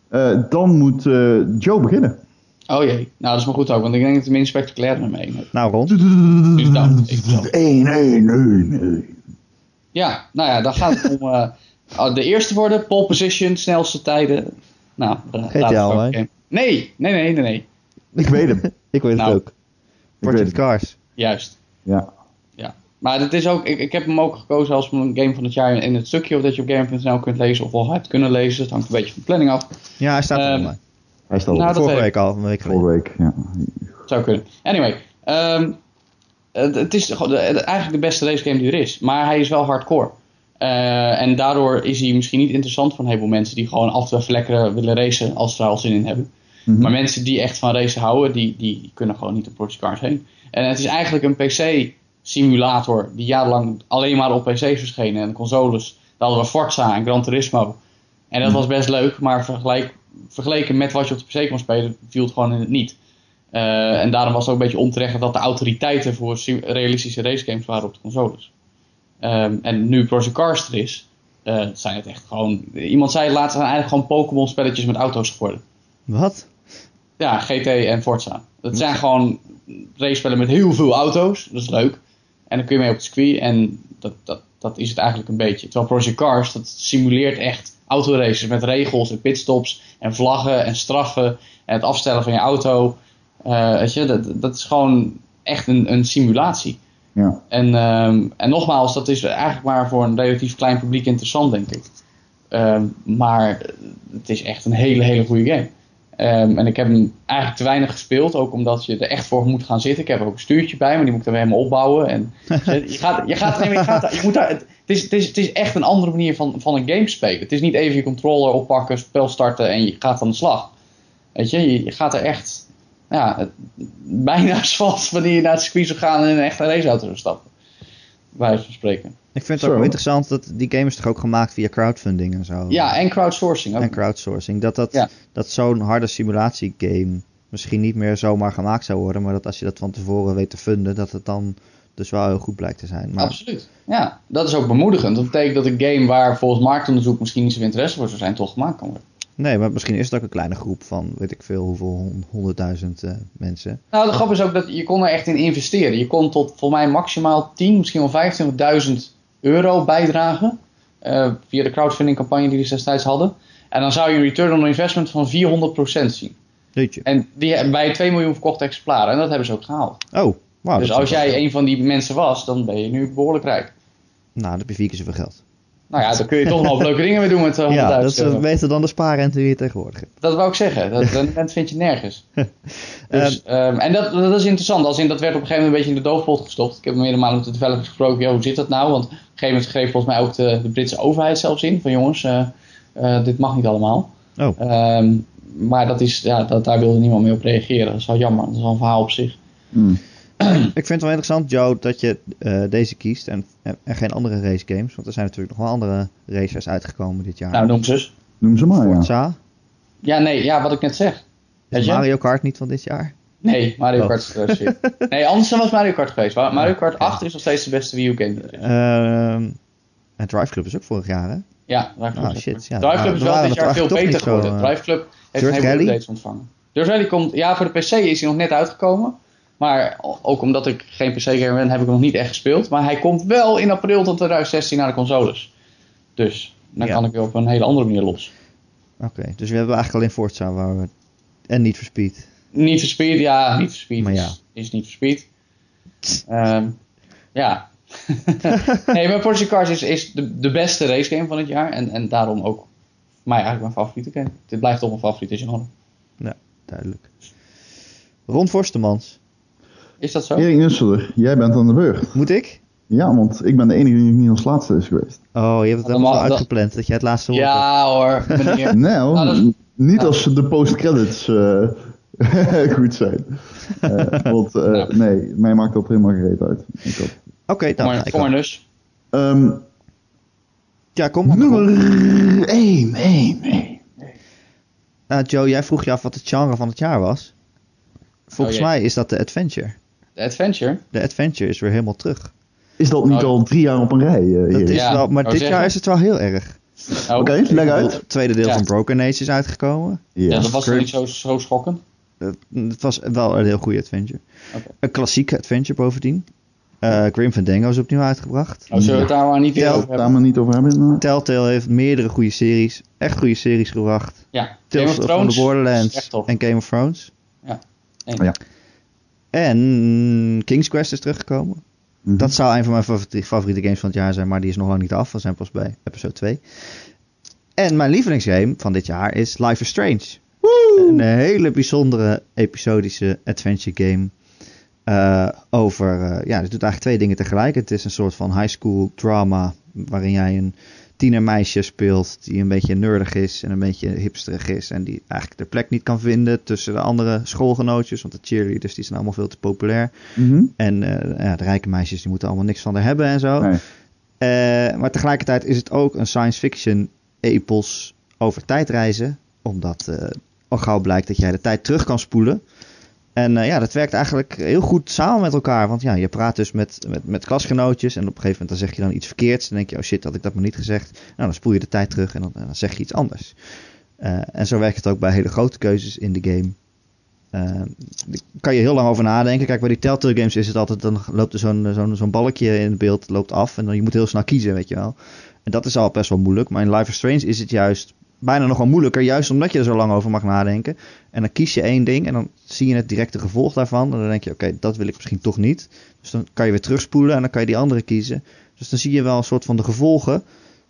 Speaker 3: maar-
Speaker 2: eh, dan moet eh, Joe beginnen.
Speaker 3: Oh jee, nou dat is maar goed ook, want ik denk dat het minst spectaculair nummer één is.
Speaker 1: nou, Ron.
Speaker 2: *laughs* 1, 1, 1, 1.
Speaker 3: Ja, nou ja, dan gaat het om eh, *laughs* oh, de eerste worden, pole position, snelste tijden. Nou, eh, laten we
Speaker 1: GTA
Speaker 3: gewoon
Speaker 1: Online.
Speaker 3: game- Nee, nee, nee, nee, nee.
Speaker 2: Ik weet
Speaker 3: *laughs*
Speaker 2: hem.
Speaker 1: Ik weet het
Speaker 3: Nou.
Speaker 1: ook.
Speaker 2: weet
Speaker 1: Project
Speaker 2: het.
Speaker 1: Cars.
Speaker 3: Juist.
Speaker 2: Ja.
Speaker 3: Maar het is ook, ik, ik heb hem ook gekozen als mijn game van het jaar in het stukje of dat je op game.nl kunt lezen of wel hebt kunnen lezen. Het hangt een beetje van de planning af.
Speaker 1: Ja, hij staat er
Speaker 3: Ehm,
Speaker 1: online.
Speaker 2: Hij staat
Speaker 3: Nou,
Speaker 2: op
Speaker 3: dat
Speaker 1: Vorige
Speaker 3: weet
Speaker 1: week al, een week geleden.
Speaker 2: vorige week. Ja.
Speaker 3: Zou kunnen. Anyway, ehm, het, het is gewoon de- de- eigenlijk de beste race game die er is. Maar hij is wel hardcore. Eh, en daardoor is hij misschien niet interessant voor een heleboel mensen die gewoon af en toe even lekker eh, willen racen als ze er al zin in hebben.
Speaker 2: Mhm.
Speaker 3: Maar mensen die echt van racen houden, die, die kunnen gewoon niet op Project Cars heen. En het is eigenlijk een PC-simulator die jarenlang alleen maar op PC's verschenen en consoles. Daar hadden we Forza en Gran Turismo. En dat was best leuk, maar vergelijk, vergeleken met wat je op de PC kon spelen, viel het gewoon in het niet. Eh, en daarom was het ook een beetje onterecht dat de autoriteiten voor sim- realistische racegames waren op de consoles. Ehm, en nu Project Cars er is, eh, zijn het echt gewoon... Iemand zei laatst zijn eigenlijk gewoon Pokémon spelletjes met auto's geworden.
Speaker 1: Wat?
Speaker 3: Ja, GT en Forza. Dat zijn gewoon racepellen met heel veel auto's. Dat is leuk. En dan kun je mee op het circuit. En dat, dat, dat is het eigenlijk een beetje. Terwijl Project Cars, dat simuleert echt autoraces met regels en pitstops en vlaggen en straffen en het afstellen van je auto. Eh, weet je, dat, dat is gewoon echt een, een simulatie.
Speaker 2: ja.
Speaker 3: En, ehm, en nogmaals, dat is eigenlijk maar voor een relatief klein publiek interessant, denk ik. Ehm, maar het is echt een hele, hele goede game. Ehm, en ik heb hem eigenlijk te weinig gespeeld, ook omdat je er echt voor moet gaan zitten. Ik heb er ook een stuurtje bij, maar die moet ik dan weer helemaal opbouwen. En je, je gaat, je gaat, nee, maar je gaat daar- je moet daar, het, het is, het, is, het is echt een andere manier van, van een game spelen. Het is niet even je controller oppakken, spel starten en je gaat aan de slag. Weet je, je, je gaat er echt ja, het- bijna *laughs* zoals wanneer je naar het circuit zou gaan en in een echte raceauto zou stappen. Bij wijze van spreken.
Speaker 1: Ik vind het
Speaker 2: Zo.
Speaker 1: ook wel interessant dat die game is toch ook gemaakt via crowdfunding en zo. eh,
Speaker 3: Ja, en crowdsourcing ook.
Speaker 1: en crowdsourcing. Dat, dat,
Speaker 3: Ja.
Speaker 1: dat zo'n harde simulatiegame misschien niet meer zomaar gemaakt zou worden. Maar dat als je dat van tevoren weet te funden, dat het dan dus wel heel goed blijkt te zijn. Maar
Speaker 3: Absoluut. Ja, dat is ook bemoedigend. Dat betekent dat een game waar volgens marktonderzoek misschien niet zoveel interesse voor zou zijn, toch gemaakt kan worden.
Speaker 1: nee, maar misschien is het ook een kleine groep van weet ik veel hoeveel, hon- honderdduizend eh, mensen.
Speaker 3: Nou, de grap is ook dat je kon er echt in investeren. Je kon tot volgens mij maximaal 10, misschien wel 25.000 euro bijdragen. eh, via de crowdfunding campagne die ze destijds hadden. En dan zou je een return on investment van 400% zien.
Speaker 1: Weet je?
Speaker 3: En die hebben bij 2 miljoen verkochte exemplaren. En dat hebben ze ook gehaald.
Speaker 1: Oh, wauw.
Speaker 3: dus
Speaker 1: dat
Speaker 3: als
Speaker 1: is wel-
Speaker 3: jij een van die mensen was, dan ben je nu behoorlijk rijk.
Speaker 1: Nou, dat heb je vier keer zoveel geld.
Speaker 3: Nou ja,
Speaker 1: *laughs*
Speaker 3: dan kun je toch nog leuke dingen mee doen met eh, 100.000
Speaker 1: Ja, dat is
Speaker 3: euro.
Speaker 1: eh, beter dan de spaarrente die je tegenwoordig hebt.
Speaker 3: Dat wou ik
Speaker 1: *laughs*
Speaker 3: zeggen. Dat, dat dat vind je nergens. Dus,
Speaker 1: Eh,
Speaker 3: ehm, en dat, dat is interessant. Als in, dat werd op een gegeven moment een beetje in de doofpot gestopt. Ik heb meerdere malen met de developers gesproken. Ja, hoe zit dat nou? Want op een gegeven moment greep volgens mij ook de, de Britse overheid zelfs in. Van jongens, eh, eh, dit mag niet allemaal.
Speaker 1: Oh.
Speaker 3: Ehm, maar dat is, ja, dat, daar wilde niemand mee op reageren. Dat is wel jammer. Dat is wel een verhaal op zich.
Speaker 2: Hm.
Speaker 1: Ik vind het wel interessant, Joe, dat je eh, deze kiest en, en, en geen andere race games. Want er zijn natuurlijk nog wel andere racers uitgekomen dit jaar.
Speaker 3: Nou, noem ze eens.
Speaker 2: Noem ze maar, ja.
Speaker 1: Forza.
Speaker 3: Ja, nee, ja, wat ik net zeg. Weet
Speaker 1: Is
Speaker 3: je?
Speaker 1: Mario Kart niet van dit jaar?
Speaker 3: Nee, Mario
Speaker 1: Oh.
Speaker 3: Kart is er shit. Nee, anders dan was Mario Kart geweest. Maar Mario Kart 8 is nog steeds de beste Wii U game. die er is.
Speaker 1: Ehm, en Drive Club is ook vorig jaar, hè?
Speaker 3: Ja, Drive Club.
Speaker 1: Ah,
Speaker 3: is-
Speaker 1: shit, ja.
Speaker 3: Drive Club is
Speaker 1: Dan
Speaker 3: wel
Speaker 1: waren
Speaker 3: dit
Speaker 1: we
Speaker 3: jaar veel
Speaker 1: toch echt
Speaker 3: beter
Speaker 1: niet zo,
Speaker 3: geworden.
Speaker 1: eh,
Speaker 3: Drive Club
Speaker 1: Dirt
Speaker 3: heeft een heleboel
Speaker 1: Rally?
Speaker 3: updates ontvangen. Dirt Rally komt... Ja, voor de PC is hij nog net uitgekomen. Maar o- ook omdat ik geen PC-gamer ben, heb ik hem nog niet echt gespeeld. Maar hij komt wel in april tot 2016 naar de consoles. Dus dan
Speaker 1: Ja.
Speaker 3: kan ik weer op een hele andere manier los.
Speaker 1: Oké, dus we hebben eigenlijk alleen Forza waar we... En niet verspied.
Speaker 3: Niet for Speed, ja, niet for Speed
Speaker 1: Maar ja.
Speaker 3: is, is niet for Speed. Ehm, ja. *laughs* nee, maar Porsche Cars is, is de, de beste racegame van het jaar. En, en daarom ook voor mij eigenlijk mijn favoriete game. Dit blijft toch mijn favoriete genre.
Speaker 1: Duidelijk. Ron Forstemans.
Speaker 3: Is dat zo?
Speaker 2: Erik Nusselder, jij bent aan de beurt.
Speaker 1: Moet ik?
Speaker 2: Ja, want ik ben de enige die niet als laatste is geweest.
Speaker 1: Oh, je hebt het
Speaker 3: Dan
Speaker 1: helemaal
Speaker 3: mag- dan-
Speaker 1: uitgepland dat jij het laatste woord hebt.
Speaker 3: Ja hoor,
Speaker 1: *laughs*
Speaker 3: meneer.
Speaker 2: Nou,
Speaker 3: Nou, dat is-
Speaker 2: n- niet
Speaker 3: nou.
Speaker 2: als de post-credits eh, *laughs* goed zijn. Eh, want eh,
Speaker 3: Nou.
Speaker 2: nee, mij maakt dat helemaal gereed uit. Ik had-
Speaker 1: Oké, dan
Speaker 3: Kom
Speaker 1: ga
Speaker 3: maar-
Speaker 1: ik
Speaker 3: Kom maar
Speaker 1: ook.
Speaker 3: dus.
Speaker 2: Ehm,
Speaker 1: Ja, kom maar.
Speaker 2: nummer 1, 1, 1.
Speaker 1: Nou, Joe, jij vroeg je af wat het genre van het jaar was. Volgens
Speaker 3: Oh, jee.
Speaker 1: mij is dat de adventure.
Speaker 3: De Adventure.
Speaker 1: De adventure is weer helemaal terug.
Speaker 2: Is dat niet
Speaker 3: Nou,
Speaker 2: al drie jaar op een rij, eh,
Speaker 1: Dat
Speaker 2: Erik?
Speaker 1: is
Speaker 3: Ja, Oh,
Speaker 1: wel, maar
Speaker 3: wou
Speaker 1: dit
Speaker 3: zeggen.
Speaker 1: jaar is het wel heel erg.
Speaker 3: Oh,
Speaker 2: Oké, leg uit.
Speaker 1: Het tweede deel
Speaker 3: Ja.
Speaker 1: van Broken Age is uitgekomen.
Speaker 3: Ja, dat was toch
Speaker 1: Kurt.
Speaker 3: niet zo, zo schokkend? Oh,
Speaker 1: Het- Het was wel een heel goede adventure.
Speaker 3: Oké.
Speaker 1: Een klassieke adventure bovendien. Eh Grim Fandango is opnieuw uitgebracht.
Speaker 3: Nou, zullen we het daar maar niet
Speaker 1: Ja,
Speaker 3: weer over
Speaker 2: Daar
Speaker 3: hebben?
Speaker 2: maar niet over hebben. inderdaad.
Speaker 1: Telltale heeft meerdere goede series. Echt goede series gebracht.
Speaker 3: Ja, Game
Speaker 1: Tales
Speaker 3: of
Speaker 1: from
Speaker 3: Thrones.
Speaker 1: the
Speaker 3: is
Speaker 1: Borderlands
Speaker 3: echt tof.
Speaker 1: en Game of Thrones.
Speaker 3: En-
Speaker 2: Ja.
Speaker 1: En mm, King's Quest is teruggekomen.
Speaker 2: Mhm.
Speaker 1: Dat zou een van mijn favoriete, favoriete games van het jaar zijn, maar die is nog lang niet af. We zijn pas bij episode 2. En mijn lievelingsgame van dit jaar is Life is Strange. Een hele bijzondere episodische adventure game. eh, over, eh, ja, het doet eigenlijk twee dingen tegelijk. Het is een soort van high school drama waarin jij een tienermeisje speelt die een beetje nerdig is en een beetje hipsterig is en die eigenlijk de plek niet kan vinden tussen de andere schoolgenootjes, want de cheerleaders die zijn allemaal veel te populair.
Speaker 2: Mhm.
Speaker 1: En eh, ja, de rijke meisjes die moeten allemaal niks van haar hebben en zo.
Speaker 2: Nee.
Speaker 1: Eh, maar tegelijkertijd is het ook een science fiction epos over tijdreizen. Omdat eh, al gauw blijkt dat jij de tijd terug kan spoelen. En eh, ja, dat werkt eigenlijk heel goed samen met elkaar. Want ja, je praat dus met, met, met klasgenootjes. En op een gegeven moment dan zeg je dan iets verkeerds. Dan denk je, oh shit, had ik dat maar niet gezegd. Nou, dan spoel je de tijd terug en dan, en dan zeg je iets anders. Eh, en zo werkt het ook bij hele grote keuzes in de game. Eh, daar kan je heel lang over nadenken. Kijk, bij die Telltale games is het altijd... dan loopt er zo'n zo'n zo'n balkje in het beeld loopt af... en dan je moet heel snel kiezen, weet je wel. En dat is al best wel moeilijk. Maar in Life is Strange is het juist bijna nog wel moeilijker... juist omdat je er zo lang over mag nadenken. En dan kies je één ding en dan zie je het directe gevolg daarvan... en dan denk je, oké, dat wil ik misschien toch niet. Dus dan kan je weer terugspoelen en dan kan je die andere kiezen. Dus dan zie je wel een soort van de gevolgen...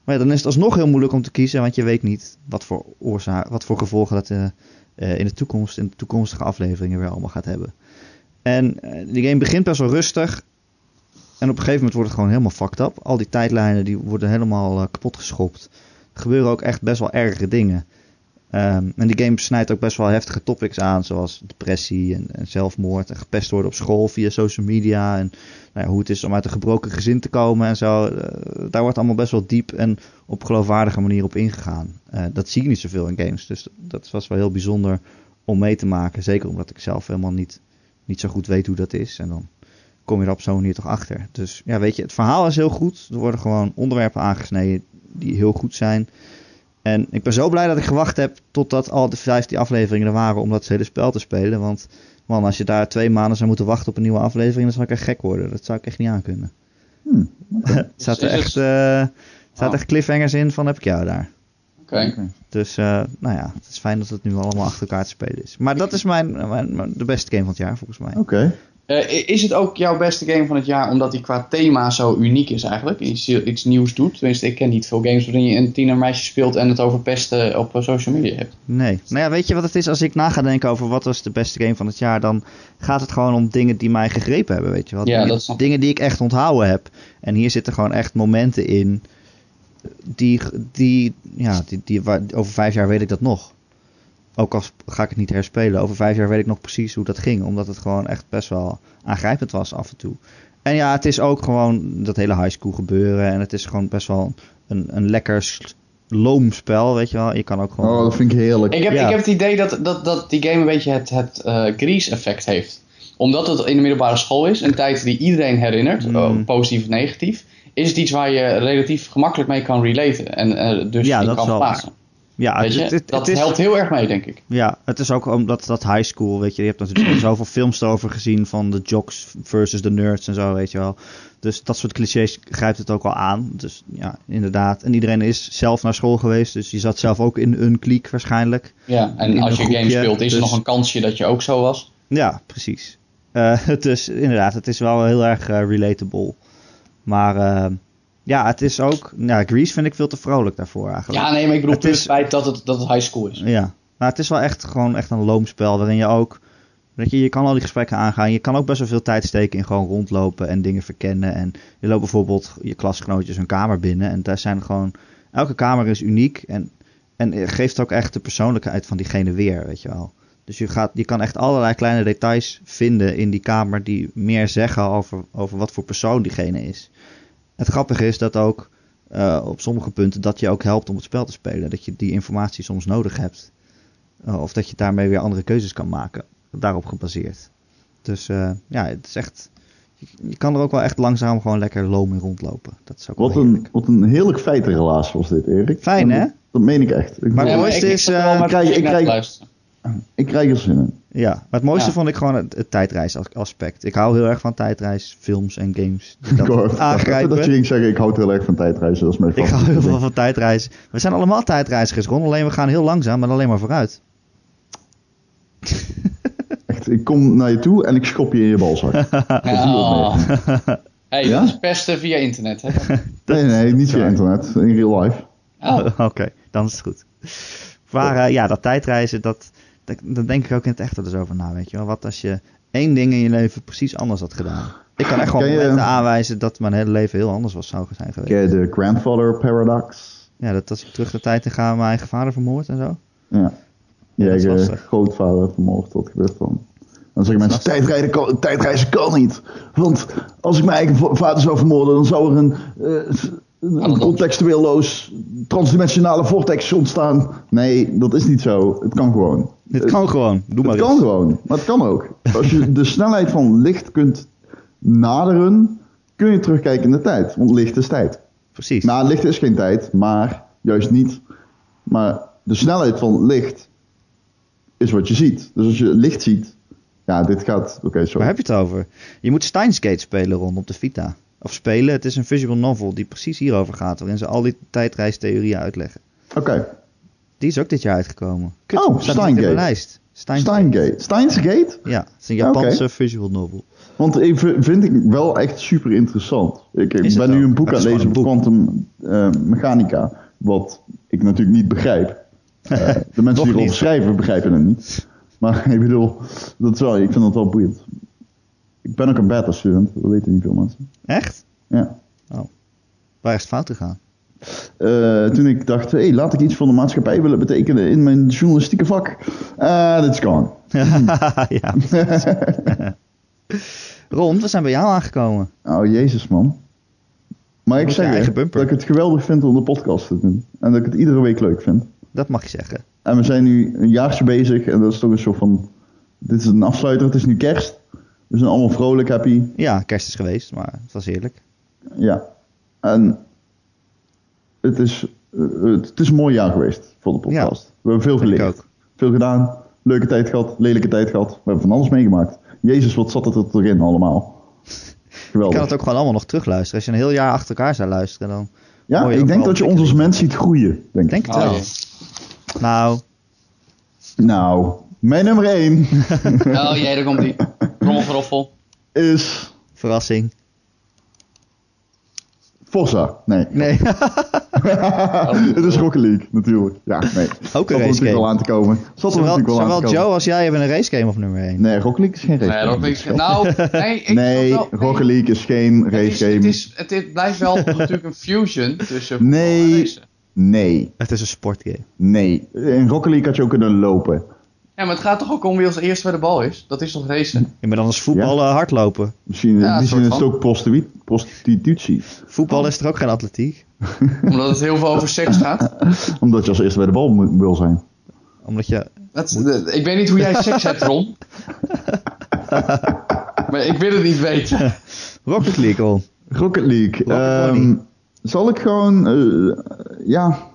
Speaker 1: Maar ja, dan is het alsnog heel moeilijk om te kiezen, want je weet niet wat voor, oorza- wat voor gevolgen dat eh, eh, in de toekomst, in de toekomstige afleveringen weer allemaal gaat hebben. En eh, die game begint best wel rustig. En op een gegeven moment wordt het gewoon helemaal fucked up. Al die tijdlijnen die worden helemaal eh, kapot geschopt. Er gebeuren ook echt best wel erge dingen. Ehm, en die game snijdt ook best wel heftige topics aan, zoals depressie en, en zelfmoord en gepest worden op school via social media en nou ja, hoe het is om uit een gebroken gezin te komen en zo. Eh, daar wordt allemaal best wel diep en op geloofwaardige manier op ingegaan. Eh, dat zie je niet zoveel in games, dus dat was wel heel bijzonder om mee te maken. Zeker omdat ik zelf helemaal niet, niet zo goed weet hoe dat is en dan kom je er op zo'n manier toch achter. Dus ja, weet je, het verhaal is heel goed. Er worden gewoon onderwerpen aangesneden die heel goed zijn. En ik ben zo blij dat ik gewacht heb totdat al de 15 afleveringen er waren om dat hele spel te spelen. Want man, als je daar twee maanden zou moeten wachten op een nieuwe aflevering, dan zou ik echt gek worden. Dat zou ik echt niet aankunnen.
Speaker 2: Hm,
Speaker 1: *laughs* er zaten
Speaker 3: Hmm. is het-
Speaker 1: echt, eh, er zaten
Speaker 3: Ah.
Speaker 1: echt cliffhangers in van heb ik jou daar.
Speaker 3: Oké.
Speaker 1: Dus eh, nou ja, het is fijn dat het nu allemaal achter elkaar te spelen is. Maar dat is mijn, mijn, mijn- de beste game van het jaar volgens mij.
Speaker 2: Oké.
Speaker 3: Eh, i- is het ook jouw beste game van het jaar omdat die qua thema zo uniek is eigenlijk? Iets, iets nieuws doet? Tenminste, ik ken niet veel games waarin je een tienermeisje speelt en het over pesten op eh, social media hebt.
Speaker 1: Nee. Nou ja, weet je wat het is? Als ik na ga denken over wat was de beste game van het jaar, dan gaat het gewoon om dingen die mij gegrepen hebben, weet je wel.
Speaker 3: Ja,
Speaker 1: dingen,
Speaker 3: dat snap ik.
Speaker 1: dingen die ik echt onthouden heb. En hier zitten gewoon echt momenten in die, die ja, die, die, waar- over vijf jaar weet ik dat nog. Ook al sp- ga ik het niet herspelen, over vijf jaar weet ik nog precies hoe dat ging. Omdat het gewoon echt best wel aangrijpend was af en toe. En ja, het is ook gewoon dat hele high school gebeuren. En het is gewoon best wel een, een lekker s- loom spel, weet je wel. Je kan ook gewoon...
Speaker 2: Oh, dat vind ik heerlijk.
Speaker 3: Ik heb,
Speaker 1: Ja.
Speaker 3: ik heb het idee dat, dat, dat die game een beetje het, het eh, Grease-effect heeft. Omdat het in de middelbare school is, een tijd die iedereen herinnert,
Speaker 1: Mm.
Speaker 3: eh, positief of negatief, is het iets waar je relatief gemakkelijk mee kan relaten en eh, dus
Speaker 1: Ja,
Speaker 3: in
Speaker 1: dat
Speaker 3: kan
Speaker 1: is wel
Speaker 3: plaatsen.
Speaker 1: Ja,
Speaker 3: Weet
Speaker 1: het,
Speaker 3: je?
Speaker 1: het- het-
Speaker 3: dat
Speaker 1: het is,
Speaker 3: helpt heel erg mee, denk ik.
Speaker 1: ja, het is ook omdat dat high school, weet je, je hebt natuurlijk al zoveel films erover gezien van de jocks versus de nerds en zo, weet je wel. Dus dat soort clichés grijpt het ook al aan. Dus ja, inderdaad. En iedereen is zelf naar school geweest, dus je zat zelf ook in een kliek waarschijnlijk.
Speaker 3: Ja, en
Speaker 1: In
Speaker 3: als je
Speaker 1: een
Speaker 3: een game
Speaker 1: groepje,
Speaker 3: speelt, is er
Speaker 1: dus-
Speaker 3: nog een kansje dat je ook zo was.
Speaker 1: Ja, precies. Eh, *laughs* dus inderdaad, het is wel heel erg eh, relatable. Maar eh, ja, het is ook, ja, Grease vind ik veel te vrolijk daarvoor eigenlijk.
Speaker 3: Ja, nee, maar ik bedoel
Speaker 1: Het
Speaker 3: puur
Speaker 1: is-
Speaker 3: het feit dat het, dat het high school is.
Speaker 1: Ja, maar het is wel echt gewoon echt een loomspel waarin je ook. Weet je, je kan al die gesprekken aangaan. Je kan ook best wel veel tijd steken in gewoon rondlopen en dingen verkennen. En je loopt bijvoorbeeld je klasgenootjes hun kamer binnen. En daar zijn gewoon. Elke kamer is uniek. En, en geeft ook echt de persoonlijkheid van diegene weer, weet je wel. Dus je, gaat, je kan echt allerlei kleine details vinden in die kamer die meer zeggen over, over wat voor persoon diegene is. Het grappige is dat ook eh, op sommige punten dat je ook helpt om het spel te spelen. Dat je die informatie soms nodig hebt. Uh, of dat je daarmee weer andere keuzes kan maken. Daarop gebaseerd. Dus eh, ja, het is echt. Je, je kan er ook wel echt langzaam gewoon lekker loom in rondlopen. Dat is ook
Speaker 2: Wat
Speaker 1: wel
Speaker 2: een,
Speaker 1: heerlijk.
Speaker 2: wat een heerlijk feitenrelaas was dit, Erik.
Speaker 1: Fijn,
Speaker 2: Dat-
Speaker 1: hè?
Speaker 2: Dat meen ik echt. Ik,
Speaker 1: Maar-
Speaker 3: Ja,
Speaker 1: het
Speaker 2: bedoel,
Speaker 1: mooiste is,
Speaker 3: zat er
Speaker 1: eh,
Speaker 3: wel maar
Speaker 2: kijk,
Speaker 3: even
Speaker 2: ik
Speaker 3: naar te
Speaker 2: kijk-
Speaker 3: luisteren.
Speaker 2: ik krijg er zin in.
Speaker 1: Ja, maar het mooiste
Speaker 3: Ja.
Speaker 1: vond ik gewoon het, het tijdreisaspect. Ik hou heel erg van tijdreisfilms en games.
Speaker 2: *laughs*
Speaker 1: die
Speaker 2: Ik hoor
Speaker 1: Dat
Speaker 2: even- even dat je
Speaker 1: *laughs* aangrijpen.
Speaker 2: ging zeggen, ik houd heel erg van tijdreizen. Dat is mijn
Speaker 1: Ik hou
Speaker 2: favoriete
Speaker 1: heel veel
Speaker 2: ding.
Speaker 1: van tijdreizen. We zijn allemaal tijdreizigers, Ron. Alleen we gaan heel langzaam en alleen maar vooruit.
Speaker 2: Echt, ik kom naar je toe en ik schop je in je
Speaker 1: *laughs*
Speaker 2: balzak.
Speaker 3: Ja, oh. Hey,
Speaker 2: Ja?
Speaker 3: dat is pesten via internet, hè?
Speaker 2: nee, nee, niet via internet. In real life.
Speaker 3: Oh.
Speaker 1: *laughs* Oké, dan is het goed. Maar eh, ja, dat tijdreizen, dat, dat, dat denk ik ook in het echte dus over na, weet je wel. Wat als je één ding in je leven precies anders had gedaan? Ik kan echt gewoon
Speaker 2: Ken je-
Speaker 1: momenten aanwijzen dat mijn hele leven heel anders was zou zijn geweest.
Speaker 2: Ken je de grandfather paradox?
Speaker 1: Ja, dat als ik terug de tijd in ga, mijn eigen vader vermoord en zo.
Speaker 2: Ja. Je
Speaker 1: Ja, dat is
Speaker 2: eigen
Speaker 1: lastig.
Speaker 2: grootvader vermoord, wat gebeurt dan? Dan zeggen mensen, tijdrijden kan, tijdreizen kan niet. Want als ik mijn eigen va- vader zou vermoorden, dan zou er een, eh, een, een contextueelloos transdimensionale vortex ontstaan. Nee, dat is niet zo. Het kan gewoon.
Speaker 1: Dit kan gewoon, doe maar
Speaker 2: Eh, Het
Speaker 1: eens.
Speaker 2: kan gewoon, maar het kan ook. Als je de snelheid van licht kunt naderen, kun je terugkijken in de tijd. Want licht is tijd.
Speaker 1: Precies.
Speaker 2: Nou, licht is geen tijd, maar juist niet. Maar de snelheid van licht is wat je ziet. Dus als je licht ziet, ja, dit gaat. Oké,
Speaker 1: Waar
Speaker 2: sorry.
Speaker 1: heb je het over? Je moet Steins Gate spelen, Ron, op de Vita. Of spelen, het is een visual novel die precies hierover gaat, waarin ze al die tijdreistheorieën uitleggen.
Speaker 2: Oké,
Speaker 1: Die is ook dit jaar uitgekomen.
Speaker 2: Oh,
Speaker 1: staat niet
Speaker 2: Steins
Speaker 1: in de
Speaker 2: Gate.
Speaker 1: lijst. Steins
Speaker 2: Steingate. Steins Gate?
Speaker 1: Ja, het is een
Speaker 2: Ja, oké.
Speaker 1: Japanse visual novel.
Speaker 2: Want ik v- vind ik wel echt super interessant. Ik, ik
Speaker 1: Is het
Speaker 2: ben nu
Speaker 1: ook?
Speaker 2: een boek
Speaker 1: Het
Speaker 2: aan
Speaker 1: is
Speaker 2: het lezen over
Speaker 1: gewoon
Speaker 2: quantum eh, mechanica. Wat ik natuurlijk niet
Speaker 1: *laughs*
Speaker 2: begrijp. Eh, de mensen die erover
Speaker 1: niet.
Speaker 2: schrijven begrijpen het niet. Maar *laughs* ik bedoel, dat is wel, ik vind dat wel boeiend. Ik ben ook een beta student, dat weten niet veel mensen.
Speaker 1: Echt?
Speaker 2: Ja.
Speaker 1: Waar is het fout gegaan?
Speaker 2: Eh, toen ik dacht, hey, laat ik iets voor de maatschappij willen betekenen in mijn journalistieke vak. Ah, dit is gone.
Speaker 1: *laughs* ja. *laughs* Ron, we zijn bij jou aangekomen.
Speaker 2: Oh, jezus man. Maar ik
Speaker 1: moet je
Speaker 2: zeg
Speaker 1: eigen
Speaker 2: je,
Speaker 1: bumper.
Speaker 2: dat ik het geweldig vind om de podcast te doen. En dat ik het iedere week leuk vind.
Speaker 1: Dat mag je zeggen.
Speaker 2: En we zijn nu een jaartje bezig en dat is toch een soort van... Dit is een afsluiter, het is nu kerst. We zijn allemaal vrolijk, happy.
Speaker 1: Ja, kerst is geweest, maar het was heerlijk.
Speaker 2: Ja. En het is, eh, het, het is een mooi jaar geweest voor de podcast. We hebben veel
Speaker 1: Vind ik
Speaker 2: geleerd.
Speaker 1: ook.
Speaker 2: Veel gedaan. Leuke tijd gehad, lelijke tijd gehad. We hebben van alles meegemaakt. Jezus, wat zat het er toch in allemaal.
Speaker 1: Je
Speaker 2: Geweldig.
Speaker 1: kan het ook gewoon allemaal nog terugluisteren. Als je een heel jaar achter elkaar zou luisteren, dan...
Speaker 2: ja,
Speaker 1: mooi ook
Speaker 2: ik denk
Speaker 1: wel
Speaker 2: dat je ons als mens ziet groeien. Denk ik.
Speaker 1: Denk het
Speaker 3: Oh,
Speaker 1: wel.
Speaker 3: jee.
Speaker 1: Nou,
Speaker 2: Nou, mijn nummer 1
Speaker 3: Oh jee, daar komt die. Rommelveroffel.
Speaker 2: is
Speaker 1: verrassing.
Speaker 2: Forza. Nee.
Speaker 1: Nee,
Speaker 3: Oh.
Speaker 2: het is Rocket League, natuurlijk. Ja, nee. Zat er natuurlijk
Speaker 1: racegame.
Speaker 2: wel aan te komen. Zat er
Speaker 1: zowel,
Speaker 2: natuurlijk wel aan te
Speaker 1: zowel
Speaker 2: komen.
Speaker 1: Joe als jij hebben een racegame op nummer 1.
Speaker 2: Nee, Rocket League is geen race
Speaker 3: Nee, dat is, nou, nee, ik
Speaker 2: Nee,
Speaker 3: snap wel-
Speaker 2: Rocket League is geen
Speaker 3: Het,
Speaker 2: race
Speaker 3: is,
Speaker 2: game.
Speaker 3: het, is, het is- blijft wel natuurlijk een fusion tussen
Speaker 2: Nee.
Speaker 3: voetbal en racen.
Speaker 2: Nee,
Speaker 1: Het is een sportgame.
Speaker 2: nee. In Rocket League had je ook kunnen lopen.
Speaker 3: Ja, maar het gaat toch ook om wie als eerste bij de bal is? Dat is toch racen?
Speaker 1: Je moet anders voetballen hardlopen.
Speaker 2: Misschien
Speaker 3: Ja,
Speaker 2: in die zin
Speaker 3: soort
Speaker 2: is het
Speaker 3: van.
Speaker 2: ook prostitu- prostitutie.
Speaker 1: Voetbal is er ook geen atletiek.
Speaker 3: Omdat het heel veel over seks gaat.
Speaker 2: Omdat je als eerste bij de bal moet- wil zijn.
Speaker 1: Omdat je...
Speaker 3: Dat, de- ik weet niet hoe jij seks hebt,
Speaker 1: *laughs*
Speaker 3: Ron. maar ik wil het niet weten.
Speaker 1: Rocket League,
Speaker 2: *laughs*
Speaker 1: Ron.
Speaker 2: Rocket League.
Speaker 1: Rocket
Speaker 2: ehm,
Speaker 1: Money.
Speaker 2: zal ik gewoon... eh, ja,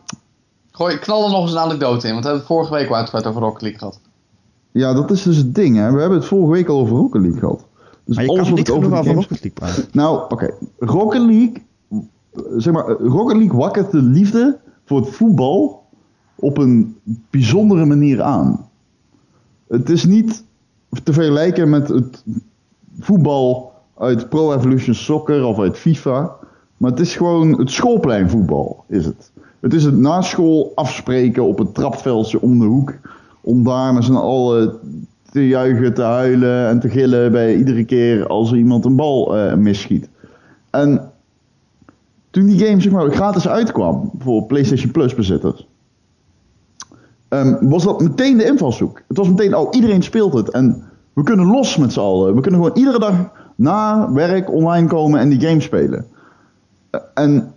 Speaker 3: Gooi, knal er nog eens een anekdote in, want we hebben het vorige week al uitgebreid over Rocket League gehad.
Speaker 2: ja, dat is dus het ding. Hè. We hebben het vorige week al over Rocket League gehad. Dus
Speaker 1: Maar je
Speaker 2: alles
Speaker 1: kan
Speaker 2: wat
Speaker 1: niet
Speaker 2: ik
Speaker 1: genoeg
Speaker 2: de
Speaker 1: over
Speaker 2: games-
Speaker 1: Rocket League
Speaker 2: *laughs*
Speaker 1: praten.
Speaker 2: Nou, oké. Rocket League... eh, Zeg maar, eh, Rocket League wakkert de liefde voor het voetbal op een bijzondere manier aan. Het is niet te vergelijken met het voetbal uit Pro Evolution Soccer of uit FIFA. Maar het is gewoon het schoolpleinvoetbal, is het. Het is het na school afspreken op het trapveldje om de hoek. Om daar met z'n allen te juichen, te huilen en te gillen bij iedere keer als er iemand een bal eh misschiet. En toen die game zeg maar, gratis uitkwam voor PlayStation Plus bezitters. ehm, was dat meteen de invalshoek. Het was meteen, oh, iedereen speelt het. En we kunnen los met z'n allen. We kunnen gewoon iedere dag na werk online komen en die game spelen. Eh, En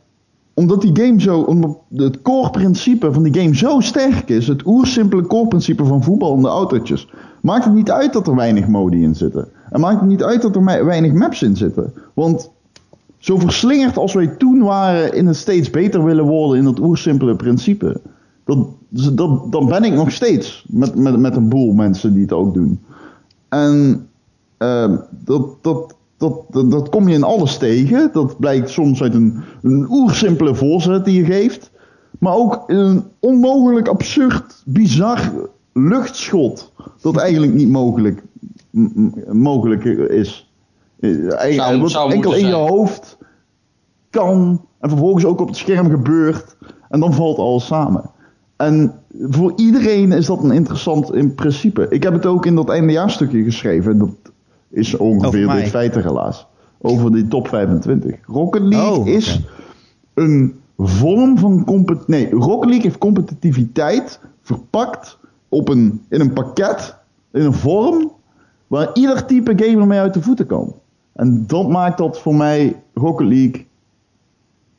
Speaker 2: omdat die game zo, omdat het core principe van die game zo sterk is, het oersimpele core principe van voetbal en de autootjes, maakt het niet uit dat er weinig modi in zitten. En maakt het niet uit dat er me- weinig maps in zitten. Want zo verslingerd als wij toen waren in het steeds beter willen worden in dat oersimpele principe, dat, dus dat, dan ben ik nog steeds met, met, met een boel mensen die het ook doen. En Ehm, dat, dat, dat, dat, dat kom je in alles tegen. Dat blijkt soms uit een, een oersimpele voorzet die je geeft. Maar ook in een onmogelijk, absurd, bizar luchtschot. Dat eigenlijk niet mogelijk, m- m- mogelijk is. Eh, eigenlijk-
Speaker 3: Zou-
Speaker 2: wat
Speaker 3: zou
Speaker 2: enkel in
Speaker 3: moeten
Speaker 2: je
Speaker 3: zijn.
Speaker 2: hoofd kan. En vervolgens ook op het scherm gebeurt. En dan valt alles samen. En voor iedereen is dat een interessant in principe. Ik heb het ook in dat eindejaarstukje geschreven. Dat is
Speaker 1: Over
Speaker 2: ongeveer
Speaker 1: mij.
Speaker 2: dit feiten helaas. Over die top 25. Rocket League
Speaker 1: Oh, oké.
Speaker 2: is een vorm van competitie. Nee, Rocket League heeft competitiviteit verpakt op een, in een pakket, in een vorm, waar ieder type gamer mee uit de voeten kan. En dat maakt dat voor mij Rocket League.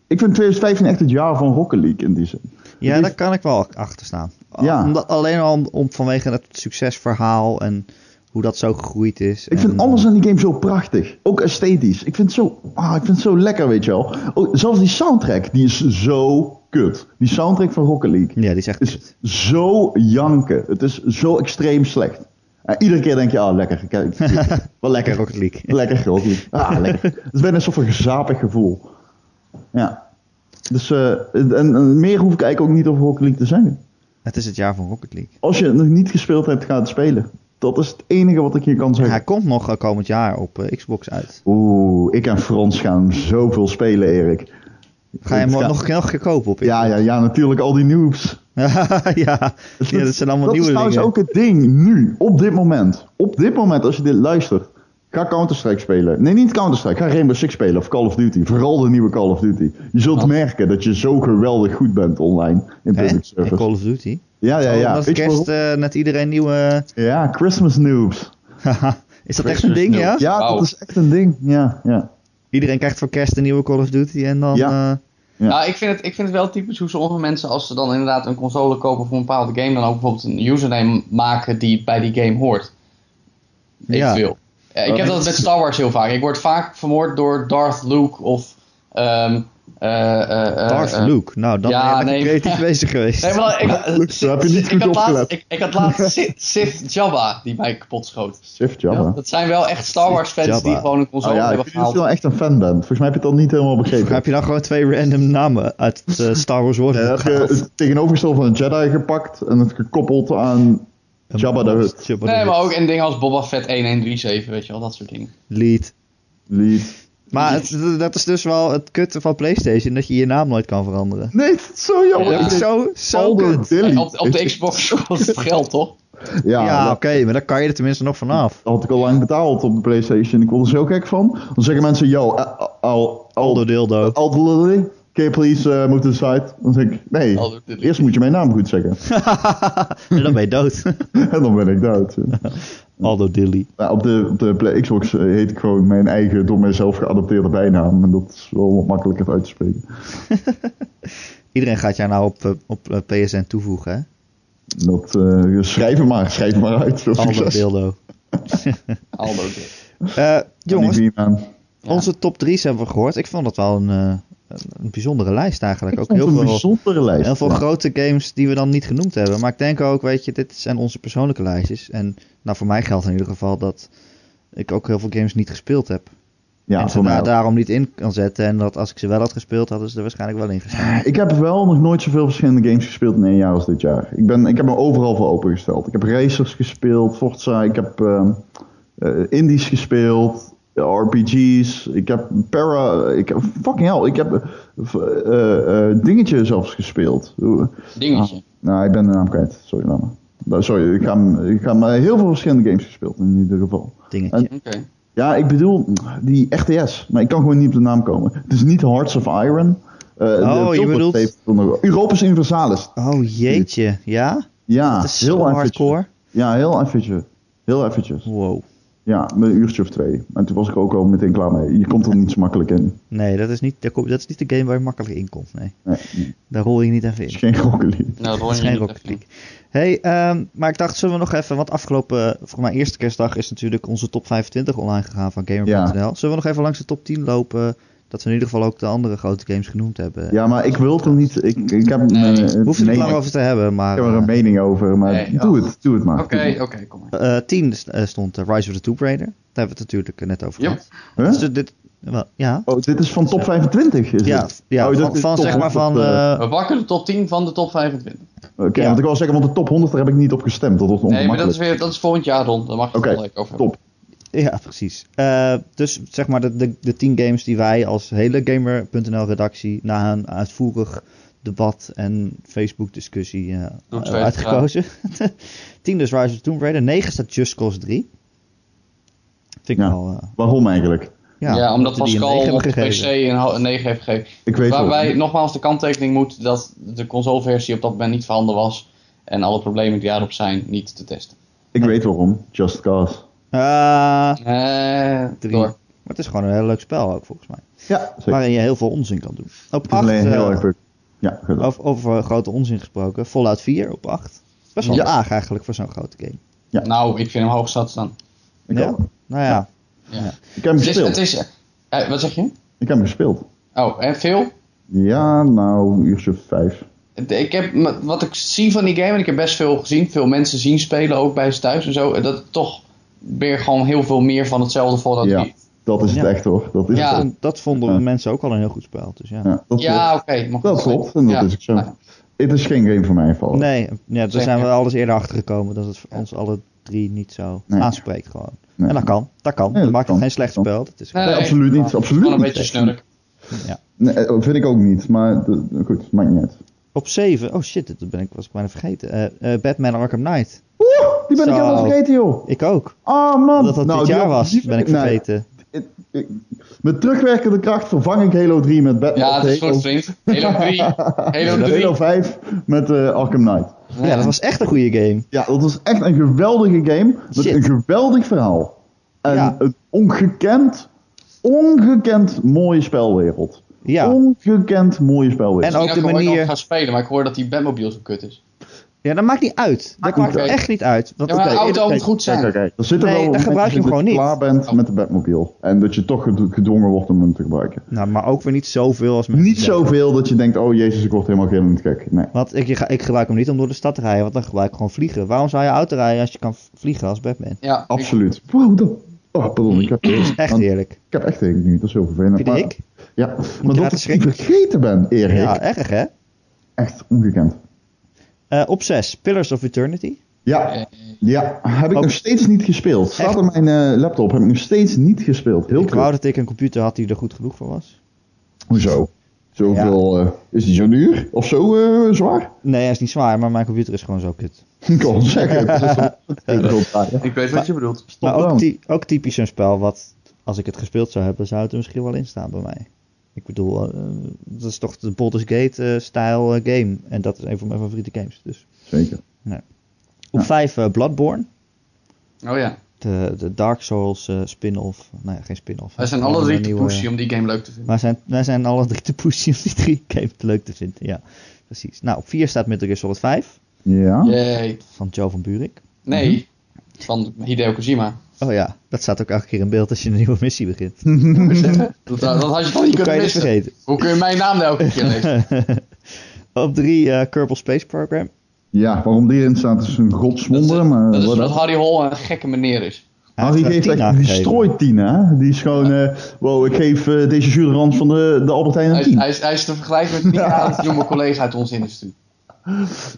Speaker 2: Ik vind 2015 echt het jaar van Rocket League in die zin.
Speaker 1: Ja, daar kan ik wel achter staan.
Speaker 2: Ja.
Speaker 1: Omdat, alleen al om, om vanwege het succesverhaal en hoe dat zo gegroeid is.
Speaker 2: Ik
Speaker 1: en, eh,
Speaker 2: vind alles aan die game zo prachtig. Ook esthetisch. Ik vind het zo, ah, ik vind het zo lekker, weet je wel. Oh, zelfs die soundtrack, die is zo kut. Die soundtrack van Rocket League
Speaker 1: Ja, die is echt...
Speaker 2: is zo janken. Het is zo extreem slecht. En iedere keer denk je, ah, lekker. Kijk,
Speaker 1: *laughs*
Speaker 2: Wel
Speaker 1: Lekker
Speaker 2: lekker.
Speaker 1: Rocket League.
Speaker 2: Lekker Rocket League. Ah, lekker. Het is bijna alsof een gezapig gevoel. Ja. Dus eh, en, en meer hoef ik eigenlijk ook niet over Rocket League te zeggen.
Speaker 1: Het is het jaar van Rocket League.
Speaker 2: Als je het nog niet gespeeld hebt, ga het spelen. Dat is het enige wat ik je kan zeggen.
Speaker 1: Hij komt nog eh, komend jaar op eh, Xbox uit.
Speaker 2: Oeh, ik en Frans gaan zoveel spelen, Erik.
Speaker 1: Ga je hem
Speaker 2: Het
Speaker 1: wel
Speaker 2: gaat-
Speaker 1: nog nog een keer kopen op
Speaker 2: Ja, ja, ja, natuurlijk, al die
Speaker 1: *laughs*
Speaker 2: noobs.
Speaker 1: ja.
Speaker 2: *laughs*
Speaker 1: ja,
Speaker 2: Dus
Speaker 1: dat zijn allemaal
Speaker 2: dat
Speaker 1: nieuwe
Speaker 2: is trouwens
Speaker 1: dingen.
Speaker 2: ook het ding, nu, op dit moment. Op dit moment, als je dit luistert, Ga Counter-Strike spelen. Nee, niet Counter-Strike. Ga Rainbow Six spelen of Call of Duty. Vooral de nieuwe Call of Duty. Je zult merken dat je zo geweldig goed bent online in
Speaker 1: Hè?
Speaker 2: public
Speaker 1: En
Speaker 2: service.
Speaker 1: Call of Duty.
Speaker 2: Ja, ja, ja.
Speaker 1: Dat
Speaker 2: Weet je
Speaker 1: kerst
Speaker 2: waarom?
Speaker 1: eh, net iedereen nieuwe...
Speaker 2: Ja, Christmas
Speaker 1: *laughs*
Speaker 2: noobs.
Speaker 1: Haha, is dat echt een
Speaker 3: Christmas
Speaker 1: ding,
Speaker 3: noobs.
Speaker 1: ja?
Speaker 2: Ja,
Speaker 3: Wauw.
Speaker 2: dat is echt een ding. Ja, ja.
Speaker 1: Iedereen krijgt voor kerst een nieuwe Call of Duty en dan...
Speaker 2: Ja.
Speaker 1: eh,
Speaker 2: Ja.
Speaker 3: Nou, ik vind, het, ik vind het wel typisch hoe sommige mensen, als ze dan inderdaad een console kopen voor een bepaalde game, dan ook bijvoorbeeld een username maken die bij die game hoort. Ik
Speaker 1: Ja.
Speaker 3: veel. Eh, ik
Speaker 2: Oh,
Speaker 3: heb dat
Speaker 2: het-
Speaker 3: met Star Wars heel vaak. Ik word vaak vermoord door Darth Luke of. ehm eh, eh, eh,
Speaker 1: Darth
Speaker 3: eh,
Speaker 1: Luke. Nou, dan
Speaker 3: ja,
Speaker 1: ben je lekker
Speaker 3: nee. *laughs*
Speaker 1: creatief bezig geweest.
Speaker 3: Nee, maar ik,
Speaker 2: *laughs* Luke, daar heb je niet goed
Speaker 3: ik had laatst-
Speaker 2: opgelet.
Speaker 3: ik, ik had laatst Sith-
Speaker 2: *laughs*
Speaker 3: Sith Jabba die mij kapot schoot.
Speaker 2: Shift Java.
Speaker 3: Ja, dat zijn wel echt Star Wars fans
Speaker 1: Jabba.
Speaker 3: die gewoon een console
Speaker 2: Oh ja, ik
Speaker 3: hebben
Speaker 2: vind dat je
Speaker 3: gehaald.
Speaker 2: wel echt een fan bent. Volgens mij heb je het dan niet helemaal
Speaker 1: Dan
Speaker 2: begrepen.
Speaker 1: heb je dan gewoon twee random namen uit het eh, Star Wars
Speaker 2: Ja, dan
Speaker 1: woordenboek
Speaker 2: heb je
Speaker 1: gehaald.
Speaker 2: het tegenovergestelde van een Jedi gepakt en het gekoppeld aan *laughs* Jabba de Hutt.
Speaker 1: Jabba de
Speaker 3: Nee, maar
Speaker 1: Hutt.
Speaker 3: ook en dingen als Boba Fett 1137, weet je wel, dat soort dingen.
Speaker 1: Lead.
Speaker 2: Lead.
Speaker 1: Maar het- dat is dus wel het kutte van PlayStation, dat je je naam nooit kan veranderen.
Speaker 2: Nee, het is zo jammer.
Speaker 3: Ja.
Speaker 1: Dat is zo, zo
Speaker 2: Aldo
Speaker 1: kut.
Speaker 2: Dilly.
Speaker 3: Op, op de Xbox kost het geld, toch?
Speaker 2: Ja,
Speaker 1: Ja, oké,
Speaker 2: dat
Speaker 1: maar dan kan je er tenminste nog vanaf.
Speaker 2: had ik al lang betaald op de Playstation. Ik word er zo gek van. Dan zeggen mensen, yo, eh, al,
Speaker 1: Aldo
Speaker 2: al,
Speaker 1: Dildo.
Speaker 2: Aldo Dilly, can you please eh, move to the site? Dan zeg ik, nee,
Speaker 3: Aldo Dilly.
Speaker 2: eerst moet je mijn naam goed zeggen.
Speaker 1: en dan ben je dood.
Speaker 2: en dan ben ik dood.
Speaker 1: Aldo Dilly.
Speaker 2: Nou, op de, op de Play- Xbox eh, heet ik gewoon mijn eigen door mezelf geadopteerde bijnaam. En dat is wel wat makkelijker uit te spreken.
Speaker 1: Iedereen gaat jou nou op, eh, op eh, PSN toevoegen, hè?
Speaker 2: Dat, eh, schrijf hem maar, schrijf hem maar uit. Veel
Speaker 1: Aldo
Speaker 2: succes.
Speaker 1: Dildo.
Speaker 3: Aldo dit.
Speaker 1: Eh, jongens,
Speaker 2: Die man.
Speaker 3: Ja.
Speaker 1: onze top 3's hebben we gehoord. Ik vond dat wel een, eh, een- een bijzondere lijst eigenlijk. Ook
Speaker 2: Vond
Speaker 1: heel
Speaker 2: een
Speaker 1: veel,
Speaker 2: bijzondere lijst.
Speaker 1: heel veel
Speaker 2: Ja.
Speaker 1: grote games die we dan niet genoemd hebben. Maar ik denk ook, weet je, dit zijn onze persoonlijke lijstjes. En nou, voor mij geldt in ieder geval dat ik ook heel veel games niet gespeeld heb.
Speaker 2: Ja,
Speaker 1: en
Speaker 2: voor
Speaker 1: ze
Speaker 2: mij.
Speaker 1: daar- daarom niet in kan zetten. En dat als ik ze wel had gespeeld, hadden ze er waarschijnlijk wel in gezet.
Speaker 2: Ik heb wel nog nooit zoveel verschillende games gespeeld in één jaar als dit jaar. Ik, ben, ik heb me overal voor opengesteld. Ik heb Racers gespeeld, Forza, ik heb ehm, eh, Indies gespeeld, RPG's, ik heb Para, ik heb, fucking hell, ik heb eh, eh, eh, Dingetje zelfs gespeeld. Oeh.
Speaker 3: Dingetje.
Speaker 2: Nou, ik ben de naam kwijt, sorry laat maar. Nou, Sorry, ik ga, hem- ik ga hem, eh, heel veel verschillende games gespeeld in ieder geval.
Speaker 1: Dingetje.
Speaker 3: Oké. Nou,
Speaker 2: Ja, ik bedoel die RTS, maar ik kan gewoon niet op de naam komen. Het is niet Hearts of Iron. Eh, de
Speaker 1: Oh, je
Speaker 2: Tilted
Speaker 1: bedoelt-
Speaker 2: heeft het nog- Europus Universalis.
Speaker 1: Oh jeetje, ja?
Speaker 2: Ja,
Speaker 1: Dat is
Speaker 2: Ah, heel
Speaker 1: heel
Speaker 2: eventjes.
Speaker 1: hardcore.
Speaker 2: Ja, heel eventjes. Heel eventjes.
Speaker 1: Wow.
Speaker 2: Ja, een uurtje of twee. En toen was ik ook al meteen klaar mee. Je komt er niet zo makkelijk in.
Speaker 1: Nee, dat is, niet, daar kom- dat is niet de game waar je makkelijk in komt. Nee,
Speaker 2: Nee, het
Speaker 1: daar rol je niet even
Speaker 2: is
Speaker 1: in.
Speaker 2: geen rockelied.
Speaker 3: Nou,
Speaker 1: Het
Speaker 3: Ronnie.
Speaker 1: is geen Rocket League. Hey, ehm, maar ik dacht, zullen we nog even, want afgelopen, eh, voor mijn eerste kerstdag is natuurlijk onze top 25 online gegaan van Gamer.nl.
Speaker 2: Ja.
Speaker 1: Zullen we nog even langs de top 10 lopen, dat we in ieder geval ook de andere grote games genoemd hebben?
Speaker 2: Ja, maar ik wil het er niet... Ik, ik heb
Speaker 3: Nee.
Speaker 2: mijn, eh,
Speaker 1: Hoef je er niet
Speaker 2: mening-
Speaker 1: lang over te hebben,
Speaker 2: Ik
Speaker 1: maar...
Speaker 2: heb er een
Speaker 1: eh,
Speaker 2: mening over, maar
Speaker 3: Nee,
Speaker 2: doe
Speaker 3: ja.
Speaker 2: het. Doe het maar.
Speaker 3: Oké, oké, kom maar.
Speaker 1: eh 10 st- eh, stond eh, Rise of the Tomb Raider. Daar hebben we het natuurlijk eh, net over
Speaker 3: Ja.
Speaker 1: gehad.
Speaker 2: Huh?
Speaker 1: Dus dit- dit, wel, ja,
Speaker 2: Oh, dit is van top 25, is
Speaker 1: ja,
Speaker 2: dit?
Speaker 1: ja
Speaker 2: Oh, dat
Speaker 1: van,
Speaker 2: is
Speaker 1: van
Speaker 2: top
Speaker 1: zeg maar van...
Speaker 2: 100, eh,
Speaker 1: eh,
Speaker 3: We pakken de top 10 van de top 25.
Speaker 2: Oké, want ik wil zeggen, want de top 100 daar heb ik niet op gestemd. Dat wordt
Speaker 3: Nee, maar
Speaker 2: ongemakkelijk.
Speaker 3: dat is, weer, dat is volgend jaar rond. Daar mag je
Speaker 2: Oké,
Speaker 3: het gelijk over
Speaker 2: top.
Speaker 1: ja, precies. Eh, dus zeg maar de, de, de 10 games die wij als hele Gamer.nl-redactie... na een uitvoerig debat en Facebook-discussie eh,
Speaker 3: Door twee
Speaker 1: eh, uitgekozen. *laughs* 10 dus Rise of the Tomb Raider. 9 staat Just Cause 3. Vind ik
Speaker 2: Ja.
Speaker 1: wel... eh,
Speaker 2: Waarom eigenlijk?
Speaker 1: ja,
Speaker 3: Ja, omdat
Speaker 1: dat we die een
Speaker 3: Pascal
Speaker 1: negen
Speaker 3: op
Speaker 1: hebben
Speaker 3: de PC
Speaker 1: gegeven.
Speaker 3: een, ho- een 9 heeft gegeven.
Speaker 2: Ik weet wel.
Speaker 3: Waarbij nogmaals de kanttekening moet dat de consoleversie op dat moment niet voorhanden was. En alle problemen die daarop zijn niet te testen.
Speaker 2: Ik weet waarom. Just Cause.
Speaker 1: Ah,
Speaker 3: Eh,
Speaker 1: Drie.
Speaker 3: door.
Speaker 1: maar het is gewoon een heel leuk spel ook, volgens mij.
Speaker 2: Ja, zeker.
Speaker 1: Waarin je heel veel onzin kan doen. Op
Speaker 2: Het is
Speaker 1: 8...
Speaker 2: alleen heel erg leuk. Ja, goed.
Speaker 1: eh, Over, over eh, grote onzin gesproken. Fallout 4 op 8. Best wel
Speaker 2: Ja.
Speaker 1: laag eigenlijk voor zo'n grote game.
Speaker 3: Nou, ik vind hem hoog zat staan.
Speaker 2: ik,
Speaker 1: ja?
Speaker 2: ook.
Speaker 1: Nou ja.
Speaker 3: Ja.
Speaker 2: ik heb hem
Speaker 3: Het is,
Speaker 2: gespeeld.
Speaker 3: het is, eh, wat zeg je?
Speaker 2: Ik heb hem gespeeld.
Speaker 3: Oh, en veel?
Speaker 2: Ja, nou, een uurtje of vijf.
Speaker 3: Ik heb, m- wat ik zie van die game, en ik heb best veel gezien, veel mensen zien spelen, ook bij ze thuis en zo, dat het toch weer gewoon heel veel meer van hetzelfde Fallout
Speaker 2: Ja.
Speaker 3: 3.
Speaker 2: Dat is het
Speaker 1: Ja.
Speaker 2: echt hoor. Dat is
Speaker 3: Ja.
Speaker 2: het.
Speaker 1: En dat vonden
Speaker 2: Ja.
Speaker 1: mensen ook al een heel goed spel. Dus ja.
Speaker 2: Ja, dat
Speaker 3: Ja, oké. mag
Speaker 2: klopt. Dat
Speaker 3: wel.
Speaker 2: klopt. En dat
Speaker 3: Ja.
Speaker 2: is ook zo.
Speaker 3: Nou,
Speaker 2: Het is geen game voor mij vallen.
Speaker 1: Nee, ja, daar
Speaker 3: Zeker.
Speaker 1: zijn we alles eerder achter gekomen dat het voor ons alle drie niet zo
Speaker 2: Nee.
Speaker 1: aanspreekt gewoon.
Speaker 2: Nee.
Speaker 1: En dat kan, dat kan.
Speaker 2: Nee,
Speaker 1: dat
Speaker 2: dat
Speaker 1: maakt het
Speaker 2: kan.
Speaker 1: geen slecht
Speaker 2: Dat kan.
Speaker 1: spel. Dat is
Speaker 3: Nee,
Speaker 2: Nee,
Speaker 3: nee.
Speaker 2: absoluut niet. Absoluut
Speaker 3: Gewoon een
Speaker 2: niet.
Speaker 3: beetje snurk.
Speaker 2: Nee, eh, vind ik ook niet. Maar de- goed, maakt niet uit.
Speaker 1: Op 7, oh shit, dat ben ik, was ik bijna vergeten. Eh, eh, Batman Arkham Knight.
Speaker 2: Woe! Oeh, die ben ik
Speaker 1: Zo.
Speaker 2: helemaal vergeten, joh.
Speaker 1: Ik ook.
Speaker 2: Ah, man.
Speaker 1: Omdat dat
Speaker 2: Nou,
Speaker 1: dit
Speaker 2: die
Speaker 1: jaar
Speaker 2: had-
Speaker 1: was,
Speaker 2: die-
Speaker 1: ben ik
Speaker 2: nee,
Speaker 1: vergeten.
Speaker 2: ik- ik- met terugwerkende kracht vervang ik Halo 3 met Batman.
Speaker 3: Ja, dat is goed, vriend. Halo
Speaker 2: *laughs*
Speaker 3: 3. Halo 3.
Speaker 2: oh. Halo 5 met eh, Arkham Knight.
Speaker 1: Ja, dat was echt een goede game.
Speaker 2: Ja, dat was echt een geweldige game. Met
Speaker 1: Shit.
Speaker 2: een geweldig verhaal. En
Speaker 1: Ja.
Speaker 2: een ongekend, ongekend mooie spelwereld.
Speaker 1: Ja.
Speaker 2: Ongekend mooie spelwereld.
Speaker 1: En ook de
Speaker 3: Ik
Speaker 1: manier-
Speaker 3: ga spelen, maar ik hoor dat die Batmobile zo kut is.
Speaker 1: ja, dat maakt niet uit. Dat
Speaker 3: niet
Speaker 1: maakt
Speaker 3: uit.
Speaker 1: echt niet uit. Want,
Speaker 3: Ja, maar
Speaker 1: oké,
Speaker 3: een auto
Speaker 1: oké,
Speaker 3: moet goed zijn.
Speaker 2: Kijk, kijk, Er zit er
Speaker 1: Nee,
Speaker 2: wel
Speaker 1: dan
Speaker 2: een
Speaker 1: gebruik je hem
Speaker 2: momentje
Speaker 1: gewoon
Speaker 2: dat
Speaker 1: niet.
Speaker 2: klaar
Speaker 3: Oh.
Speaker 2: bent met de Batmobile. En dat je toch gedo- gedwongen wordt om hem te gebruiken.
Speaker 1: Nou, maar ook weer niet zoveel als mensen
Speaker 2: Niet
Speaker 1: zeggen.
Speaker 2: zoveel dat je denkt, oh jezus, ik word helemaal gillend gek. Nee.
Speaker 1: Want ik, je ga- ik gebruik hem niet om door de stad te rijden, want dan gebruik ik gewoon vliegen. Waarom zou je auto rijden als je kan v- vliegen als Batman?
Speaker 3: Ja, ik-
Speaker 2: Absoluut. Wow, dat... Oh, pardon, ik heb,
Speaker 1: Echt
Speaker 2: want-
Speaker 1: heerlijk.
Speaker 2: ik heb echt een nu. Dat is heel vervelend.
Speaker 1: Heb je de
Speaker 2: maar-
Speaker 1: ik?
Speaker 2: Ja, maar
Speaker 1: je
Speaker 2: dat
Speaker 1: laten
Speaker 2: ik die
Speaker 1: schrikken?
Speaker 2: vergeten ben, Erik.
Speaker 1: Ja, erg hè?
Speaker 2: Echt ongekend.
Speaker 1: Eh, op 6, Pillars of Eternity.
Speaker 2: Ja, ja, heb ik
Speaker 1: Eh, Ook-
Speaker 2: nog steeds niet gespeeld. Staat op mijn eh, laptop, heb ik nog steeds niet gespeeld. Heel
Speaker 1: ik wou
Speaker 2: kort.
Speaker 1: dat ik een computer had die er goed genoeg voor was.
Speaker 2: Hoezo? Zoveel, eh, is die zo duur? Of zo eh, zwaar? *laughs*
Speaker 1: Nee, hij is niet zwaar, maar mijn computer is gewoon zo kut.
Speaker 2: Ik kan het zeggen. Dat is toch-
Speaker 1: *laughs*
Speaker 2: Ik wil het draaien.
Speaker 3: Ik weet wat je bedoelt.
Speaker 1: Maar
Speaker 2: down.
Speaker 1: ook, ty- ook typisch een spel wat, als ik het gespeeld zou hebben, zou het er misschien wel in staan bij mij. Ik bedoel, eh, dat is toch de Baldur's Gate-stijl eh, game. En dat is een van mijn favoriete games. Dus.
Speaker 2: Zeker.
Speaker 1: Op
Speaker 2: Ja.
Speaker 1: 5, eh, Bloodborne.
Speaker 3: Oh ja,
Speaker 1: De, de Dark Souls eh, spin-off. Nou ja, geen spin-off.
Speaker 3: wij zijn
Speaker 1: Gewoon
Speaker 3: alle drie
Speaker 1: een
Speaker 3: te
Speaker 1: nieuwe-
Speaker 3: pushy om die game leuk te vinden.
Speaker 1: Wij zijn, wij zijn alle drie te pushy om die drie games leuk te vinden. Ja, precies. Nou, op 4 staat Metal Gear Solid 5
Speaker 2: Ja.
Speaker 3: Yay.
Speaker 1: van Joe van Buurik.
Speaker 3: Nee,
Speaker 1: Mhm.
Speaker 3: van Hideo Kojima.
Speaker 1: *laughs* Oh ja, dat staat ook elke keer in beeld als je een nieuwe missie begint.
Speaker 3: Dat, eh, dat had je
Speaker 1: Hoe
Speaker 3: toch niet
Speaker 1: kan
Speaker 3: kunnen
Speaker 1: je dus dit
Speaker 3: missen.
Speaker 1: vergeten?
Speaker 3: Hoe kun je mijn naam nou
Speaker 1: *laughs*
Speaker 3: elke keer lezen?
Speaker 1: op 3 eh Kerbal Space Program.
Speaker 2: ja, waarom die erin staat is een godswonde.
Speaker 1: eh,
Speaker 2: Maar
Speaker 3: Dat is
Speaker 2: wat
Speaker 3: dat Harry Hol een gekke meneer is.
Speaker 1: Hij
Speaker 2: Harry
Speaker 1: heeft er
Speaker 2: geeft Oh,
Speaker 1: 10
Speaker 2: echt een
Speaker 1: aangegeven.
Speaker 2: gestrooid tien, hè? Die is gewoon, eh, wow, ik geef eh, deze zure rand van de, de Albert Heijn
Speaker 3: Hij
Speaker 2: een
Speaker 3: is,
Speaker 2: tien.
Speaker 3: hij is, hij is te vergelijken met die
Speaker 1: *laughs*
Speaker 3: aardig jonge collega uit onze industrie.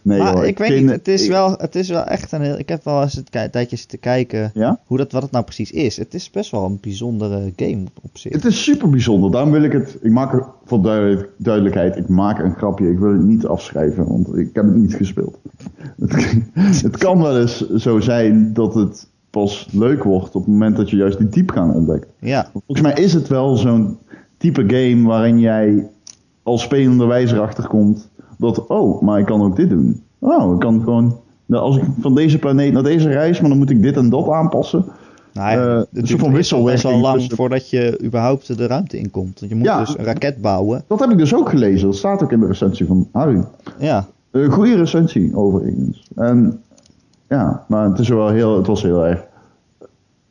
Speaker 2: Nee,
Speaker 1: Maar
Speaker 2: hoor,
Speaker 1: Ah, ik weet
Speaker 2: ken-
Speaker 1: niet, het is,
Speaker 2: ik-
Speaker 1: wel, het is wel echt een heel... Ik heb wel eens het ki- tijdje zitten kijken
Speaker 2: Ja?
Speaker 1: hoe dat, wat het nou precies is. Het is best wel een bijzondere game op zich.
Speaker 2: Het is super bijzonder. Daarom wil ik het. Ik maak er voor duidelijk- duidelijkheid. Ik maak een grapje. Ik wil het niet afschrijven, want ik heb het niet gespeeld. Het, het kan wel eens zo zijn dat het pas leuk wordt op het moment dat je juist die diepgang ontdekt.
Speaker 1: Ja,
Speaker 2: Volgens mij is het wel zo'n type game waarin jij als spelende wijzer achterkomt dat oh, maar ik kan ook dit doen. Oh, ik kan gewoon. Nou, als ik van deze planeet naar deze reis, maar dan moet ik dit en dat aanpassen.
Speaker 1: nou ja,
Speaker 2: Eh,
Speaker 1: het
Speaker 2: een
Speaker 1: duurt
Speaker 2: soort van
Speaker 1: best wel- best
Speaker 2: wisselwerking
Speaker 1: wel lang
Speaker 2: tussen-
Speaker 1: voordat je überhaupt de ruimte inkomt. Want je moet
Speaker 2: Ja.
Speaker 1: dus een raket bouwen.
Speaker 2: Dat heb ik dus ook gelezen. Dat staat ook in de recensie van Harry.
Speaker 1: Ja,
Speaker 2: Een Eh, goede recensie, overigens. En ja, maar het, is wel heel, het was heel erg.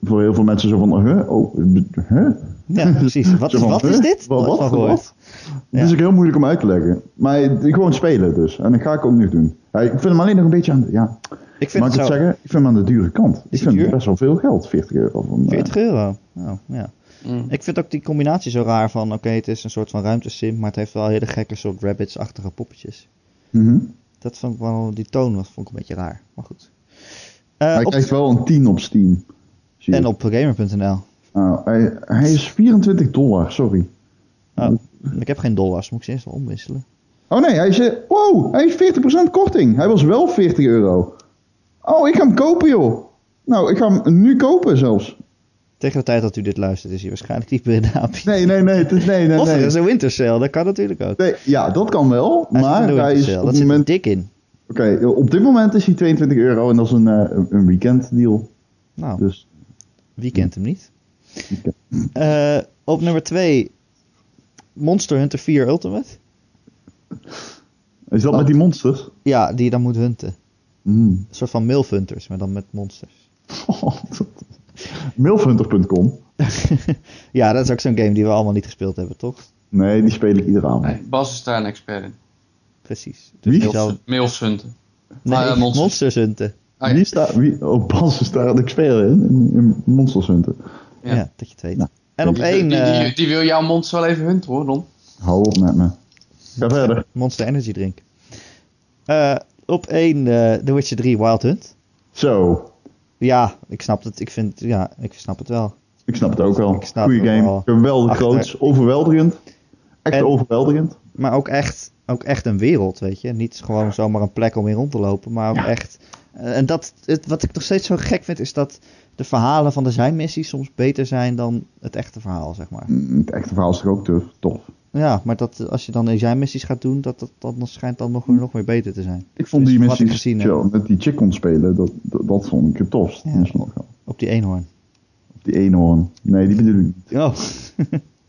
Speaker 2: Voor heel veel mensen zo van, huh? Oh, b- huh? *laughs*
Speaker 1: ja precies. Wat,
Speaker 2: Zo
Speaker 1: is-
Speaker 2: van,
Speaker 1: wat
Speaker 2: huh?
Speaker 1: is dit?
Speaker 2: Wat,
Speaker 1: Nooit
Speaker 2: wat,
Speaker 1: van
Speaker 2: wat?
Speaker 1: gehoord.
Speaker 2: Het is ook heel moeilijk om uit te leggen. Maar ik- gewoon spelen dus. En dat ga ik ook nu doen. Ja, ik vind hem alleen nog een beetje aan de... Ja,
Speaker 1: Ik vind
Speaker 2: mag ik
Speaker 1: het
Speaker 2: het
Speaker 1: zo.
Speaker 2: zeggen? Ik vind hem aan de dure kant. Ik
Speaker 1: het
Speaker 2: vind het
Speaker 1: duur?
Speaker 2: best wel veel geld, 40 euro. Van, eh,
Speaker 1: 40 euro. Oh, ja.
Speaker 3: Mm.
Speaker 1: Ik vind ook die combinatie zo raar van, oké, het is een soort van ruimtesim, maar het heeft wel hele gekke soort rabbits-achtige poppetjes.
Speaker 2: mhm.
Speaker 1: Dat vond ik wel, die toon was, vond ik een beetje raar. Maar goed. Eh,
Speaker 2: Hij
Speaker 1: op-
Speaker 2: krijgt wel een 10 op Steam. Zie ik.
Speaker 1: en op gamer.nl.
Speaker 2: Ah, hij, hij is 24 dollar, sorry.
Speaker 1: Oh,
Speaker 2: Mm.
Speaker 1: ik heb geen dollars, moet ik ze eerst wel omwisselen.
Speaker 2: Oh nee, hij is, eh, wow, hij heeft 40% korting. Hij was wel 40 euro. Oh, ik ga hem kopen, joh. Nou, ik ga hem nu kopen zelfs.
Speaker 1: Tegen de tijd dat u dit luistert is hij waarschijnlijk niet meer in de API.
Speaker 2: Nee, nee, nee, het is- nee, nee,
Speaker 1: of er is
Speaker 2: nee.
Speaker 1: een wintersale, dat kan natuurlijk ook.
Speaker 2: Nee, ja, dat kan wel,
Speaker 1: Hij zit in
Speaker 2: maar
Speaker 1: de
Speaker 2: hij is
Speaker 1: wintersale, dat
Speaker 2: op, het
Speaker 1: zit er
Speaker 2: moment,
Speaker 1: dik in.
Speaker 2: Oké, op dit moment is hij 22 euro en dat is een, eh, een- een weekenddeal.
Speaker 1: Nou,
Speaker 2: Dus
Speaker 1: wie kent hem niet?
Speaker 2: Wie kent
Speaker 1: Eh, op nummer 2, Monster Hunter 4 Ultimate.
Speaker 2: is dat
Speaker 1: Oh.
Speaker 2: met die monsters?
Speaker 1: Ja, die je dan moet hunten.
Speaker 2: *laughs* Mm.
Speaker 1: Een soort van milfhunters, maar dan met monsters. *laughs*
Speaker 2: Milfhunter.com.
Speaker 1: ja, dat is ook zo'n game die we allemaal niet gespeeld hebben, toch?
Speaker 2: Nee, die speel ik iedere avond.
Speaker 3: Nee, Bas is daar een expert in.
Speaker 1: Precies. Dus
Speaker 2: Wie?
Speaker 1: heel zelf-
Speaker 3: Mails hunten.
Speaker 1: Nee,
Speaker 3: Ah, ja, monsters.
Speaker 1: monsters. hunten.
Speaker 3: Ah, ja.
Speaker 2: Wie staat, wie, oh, Bas is daar, ik speel in, in, in Monsters Hunter.
Speaker 1: Ja.
Speaker 3: Ja.
Speaker 1: dat je het weet.
Speaker 2: Nou,
Speaker 1: en op
Speaker 3: Die,
Speaker 1: één,
Speaker 3: die,
Speaker 1: eh,
Speaker 3: die- die wil jouw monster wel even hunten hoor, Ron.
Speaker 2: Hou op met me. Ga verder.
Speaker 1: eh, Monster Energy Drink. Eh, op één, eh The Witcher 3 Wild Hunt.
Speaker 2: Zo,
Speaker 1: Ja, ik snap het. Ik vind, ja, ik snap het wel.
Speaker 2: Ik snap het ook wel.
Speaker 1: Ik snap
Speaker 2: Goeie
Speaker 1: het
Speaker 2: game.
Speaker 1: wel.
Speaker 2: Geweldig
Speaker 1: Achter-
Speaker 2: groots. Overweldigend. Echt
Speaker 1: En-
Speaker 2: overweldigend.
Speaker 1: Maar ook echt, ook echt een wereld, weet je. Niet gewoon zomaar een plek om in rond te lopen, maar ook
Speaker 2: Ja.
Speaker 1: echt Eh, en dat, het, wat ik nog steeds zo gek vind, is dat de verhalen van de zijnmissies soms beter zijn dan het echte verhaal, zeg maar.
Speaker 2: Mm, Het echte verhaal is toch ook tof. tof.
Speaker 1: Ja, maar dat, eh, als je dan de zijnmissies gaat doen, dat, dat, dat, schijnt dan
Speaker 2: Hm.
Speaker 1: nog, nog meer beter te zijn.
Speaker 2: Ik vond
Speaker 1: Dus
Speaker 2: die
Speaker 1: wat ik
Speaker 2: missie
Speaker 1: gezien
Speaker 2: chill, dat die chick kon spelen, dat, dat, dat vond ik het tofst.
Speaker 1: Ja.
Speaker 2: Dat is nog wel.
Speaker 1: Op die eenhoorn.
Speaker 2: Die eenhoorn. Nee, die bedoel ik niet.
Speaker 1: Oh,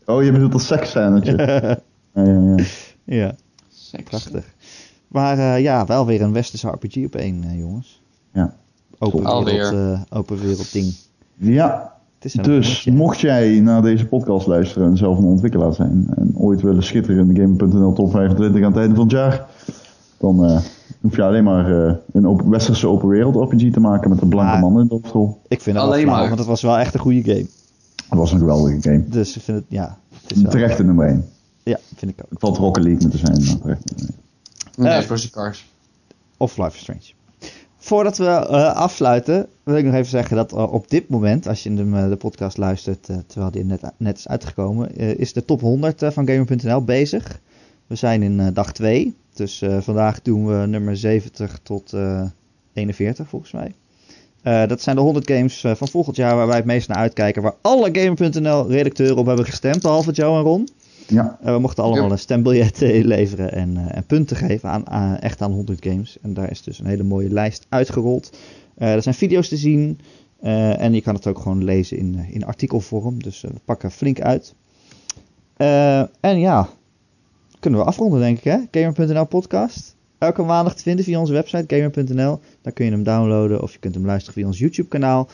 Speaker 2: Oh, je bedoelt dat seksscènetje. ja, ja, ja.
Speaker 1: *laughs* ja,
Speaker 3: Seks.
Speaker 1: prachtig. Maar eh, ja, wel weer een westerse RPG op één, eh, jongens.
Speaker 2: Ja.
Speaker 1: Open
Speaker 3: Alweer.
Speaker 1: wereld, eh, open wereld ding.
Speaker 2: Ja,
Speaker 1: Het is een
Speaker 2: dus
Speaker 1: dingetje.
Speaker 2: mocht jij naar deze podcast luisteren en zelf een ontwikkelaar zijn en ooit willen schitteren in de Gamer.nl top 25 aan het einde van het jaar, dan eh, hoef je alleen maar eh, een open, westerse open wereld RPG te maken met een blanke
Speaker 1: Maar-
Speaker 2: man in de hoofdrol.
Speaker 1: Ik vind dat
Speaker 3: Alleen
Speaker 1: wel flauw,
Speaker 3: maar.
Speaker 1: want het was wel echt een goede game.
Speaker 2: Dat was een geweldige game.
Speaker 1: Dus ik vind het, ja. Het is wel-
Speaker 2: Terecht in nummer 1.
Speaker 1: Ja, vind ik ook.
Speaker 2: Het valt Rocket League moeten zijn, maar terecht in nummer één.
Speaker 3: Nee,
Speaker 1: Eh.
Speaker 3: voor zijn cars.
Speaker 1: Of Life is Strange. Voordat we eh, afsluiten, wil ik nog even zeggen dat eh, op dit moment, als je hem, eh, de podcast luistert, eh, terwijl die net, net is uitgekomen, eh, is de top 100 eh, van Gamer.nl bezig. We zijn in eh, dag 2, dus eh, vandaag doen we nummer 70 tot eh, 41 volgens mij. Eh, dat zijn de 100 games eh, van volgend jaar waar wij het meest naar uitkijken, waar alle Gamer.nl redacteuren op hebben gestemd, behalve Joe en Ron.
Speaker 2: Ja,
Speaker 1: Eh, we mochten allemaal
Speaker 3: Ja.
Speaker 1: een stembiljet eh, inleveren en, eh, en punten geven aan, aan- echt aan 100 games. En daar is dus een hele mooie lijst uitgerold. Eh, er zijn video's te zien eh, en je kan het ook gewoon lezen in, eh, in artikelvorm. Dus eh, we pakken flink uit. Eh, en ja, kunnen we afronden denk ik hè? Gamer.nl podcast. Elke maandag te vinden via onze website gamer.nl. Daar kun je hem downloaden of je kunt hem luisteren via ons YouTube kanaal.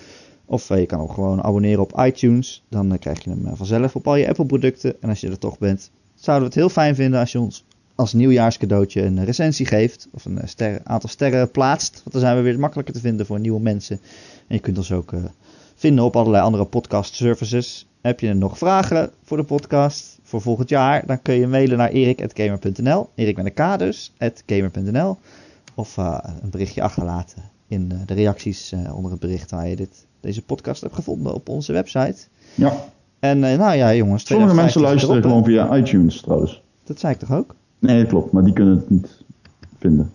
Speaker 1: Of eh, je kan ook gewoon abonneren op iTunes. Dan eh, krijg je hem eh, vanzelf op al je Apple producten. En als je er toch bent, zouden we het heel fijn vinden als je ons als nieuwjaarscadeautje een recensie geeft. Of een eh, sterren- aantal sterren plaatst. Want dan zijn we weer makkelijker te vinden voor nieuwe mensen. En je kunt ons ook eh, vinden op allerlei andere podcast services. Heb je nog vragen voor de podcast voor volgend jaar? Dan kun je mailen naar erik.gamer.nl. Erik met een K dus, at gamer.nl. Of eh, een berichtje achterlaten in eh, de reacties eh, onder het bericht waar je dit, deze podcast hebt gevonden op onze website.
Speaker 2: ja.
Speaker 1: En eh, nou ja, jongens.
Speaker 2: sommige
Speaker 1: 2015
Speaker 2: mensen luisteren
Speaker 1: erop, hè?
Speaker 2: gewoon via iTunes trouwens.
Speaker 1: Dat zei ik toch ook?
Speaker 2: Nee, klopt, maar die kunnen het niet vinden.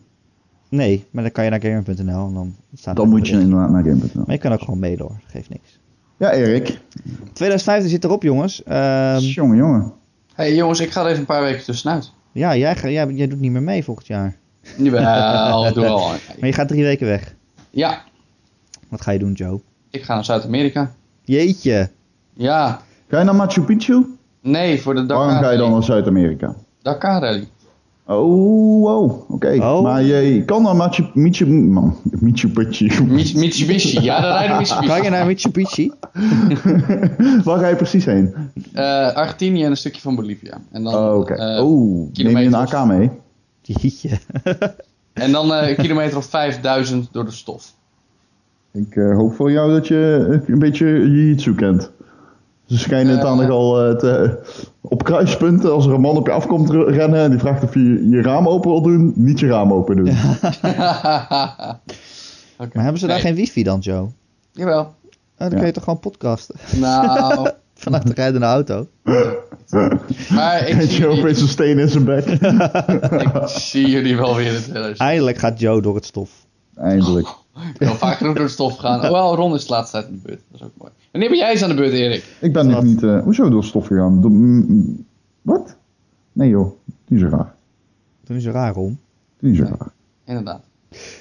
Speaker 1: Nee, maar dan kan je naar gamer.nl en dan staat
Speaker 2: Dan
Speaker 1: er
Speaker 2: moet je
Speaker 1: bericht.
Speaker 2: inderdaad naar Game.nl.
Speaker 1: Maar je kan ook gewoon mailen hoor, geeft niks.
Speaker 2: Ja, Erik.
Speaker 1: 2015 zit erop, jongens. Ehm,
Speaker 2: Jongen, jongen.
Speaker 3: hey, jongens, ik ga er even een paar weken tussenuit.
Speaker 1: ja, jij, ga- jij, jij doet niet meer mee volgend jaar.
Speaker 3: Jawel, doe al.
Speaker 1: Maar je gaat drie weken weg.
Speaker 3: Ja,
Speaker 1: Wat ga je doen, Joe?
Speaker 3: ik ga naar Zuid-Amerika.
Speaker 1: Jeetje.
Speaker 3: Ja,
Speaker 2: Ga je naar Machu Picchu?
Speaker 3: nee, voor de Dakar.
Speaker 2: Waarom ga je dan naar Zuid-Amerika?
Speaker 3: Dakar rally.
Speaker 2: Oh, wow, oké.
Speaker 1: Oh.
Speaker 2: Maar je kan naar Machu Picchu... Man, Machu Picchu.
Speaker 3: Mits- Mitsubishi, ja, daar rijden Mitsubishi.
Speaker 1: Kan je naar Mitsubishi?
Speaker 2: *laughs* Waar ga je precies heen?
Speaker 3: Eh, Argentinië en een stukje van Bolivia. En dan,
Speaker 2: Oh, oké.
Speaker 3: eh,
Speaker 2: oh, neem je een
Speaker 3: kilometers.
Speaker 2: AK mee?
Speaker 1: Jeetje.
Speaker 3: En dan eh, een kilometer of 5000 door de stof.
Speaker 2: Ik eh, hoop voor jou dat je eh, een beetje jiu-jitsu kent. Ze schijnen het
Speaker 3: Eh.
Speaker 2: aan al eh, te, op kruispunten, als er een man op je afkomt re- rennen en die vraagt of je je raam open wil doen, niet je raam open doen. *laughs*
Speaker 3: Oké.
Speaker 1: Maar hebben ze daar
Speaker 3: Nee,
Speaker 1: geen wifi dan, Joe? Oh,
Speaker 3: Jawel.
Speaker 1: dan
Speaker 2: Ja.
Speaker 1: kun je toch gewoon podcasten? *laughs*
Speaker 3: Nou,
Speaker 1: Vanuit de rijdende auto.
Speaker 3: maar
Speaker 2: *laughs*
Speaker 3: ik
Speaker 2: En
Speaker 3: zie,
Speaker 2: je
Speaker 3: jullie,
Speaker 2: opeens een steen in zijn bek.
Speaker 3: ik zie jullie wel weer in het hele
Speaker 1: Eindelijk gaat Joe door het stof.
Speaker 2: Eindelijk.
Speaker 3: Ik ben al vaak genoeg door de stof gegaan. Oh, wel, Ron is de laatste tijd aan de beurt. Dat is ook mooi. Wanneer ben jij eens aan de beurt, Erik?
Speaker 2: Ik ben nog
Speaker 1: Wat?
Speaker 2: niet. eh, hoezo door stof gegaan? Door- mm, mm, wat? Nee joh, die is raar.
Speaker 1: Toen is er raar om.
Speaker 2: Die is
Speaker 3: Nee.
Speaker 2: raar.
Speaker 3: Inderdaad.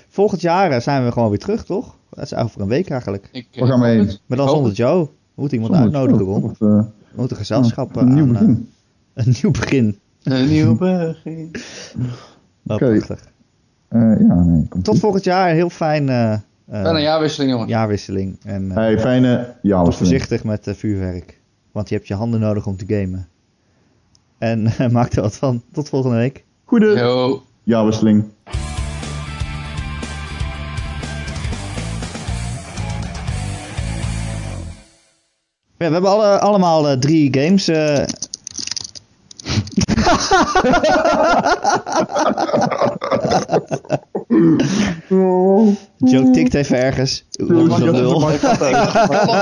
Speaker 1: Volgend jaar eh, zijn we gewoon weer terug, toch? Dat is over een week eigenlijk.
Speaker 3: Ik, eh,
Speaker 2: Waar gaan we
Speaker 3: ik hoop
Speaker 2: heen?
Speaker 3: het.
Speaker 1: Maar dan
Speaker 3: Ik hoop
Speaker 1: zonder Joe. We moeten iemand
Speaker 2: Zonder-
Speaker 1: uitnodigen,
Speaker 2: oh,
Speaker 1: Ron.
Speaker 2: wat, eh,
Speaker 1: We moeten gezelschap eh,
Speaker 2: een nieuw
Speaker 1: aan, eh, *laughs*
Speaker 2: begin.
Speaker 1: een nieuw begin.
Speaker 3: het. *laughs* Een nieuw begin.
Speaker 1: Oh,
Speaker 2: Oké.
Speaker 1: prachtig.
Speaker 2: Eh, ja, nee. komt
Speaker 1: Tot
Speaker 2: goed.
Speaker 1: volgend jaar. Heel fijn eh, eh,
Speaker 3: Wel een jaarwisseling, jongen.
Speaker 1: jaarwisseling. En eh,
Speaker 2: Hey, fijne. Ja,
Speaker 1: toch voorzichtig met eh, vuurwerk. Want je hebt je handen nodig om te gamen. En eh, *laughs* maak er wat van. Tot volgende week.
Speaker 2: Goede.
Speaker 3: Yo.
Speaker 2: Ja, wisseling.
Speaker 1: Ja, we hebben alle, allemaal eh, drie games.
Speaker 2: *laughs*
Speaker 1: eh. Joe tikt even ergens. Oeh, wat een lul. *laughs*
Speaker 3: Kom nog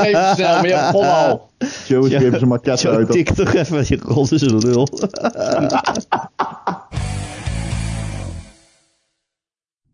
Speaker 3: even snel, maar je hebt vol al.
Speaker 2: Joe geeft zijn maquette
Speaker 1: Joe
Speaker 2: uit.
Speaker 1: tikt toch even die rol is een lul.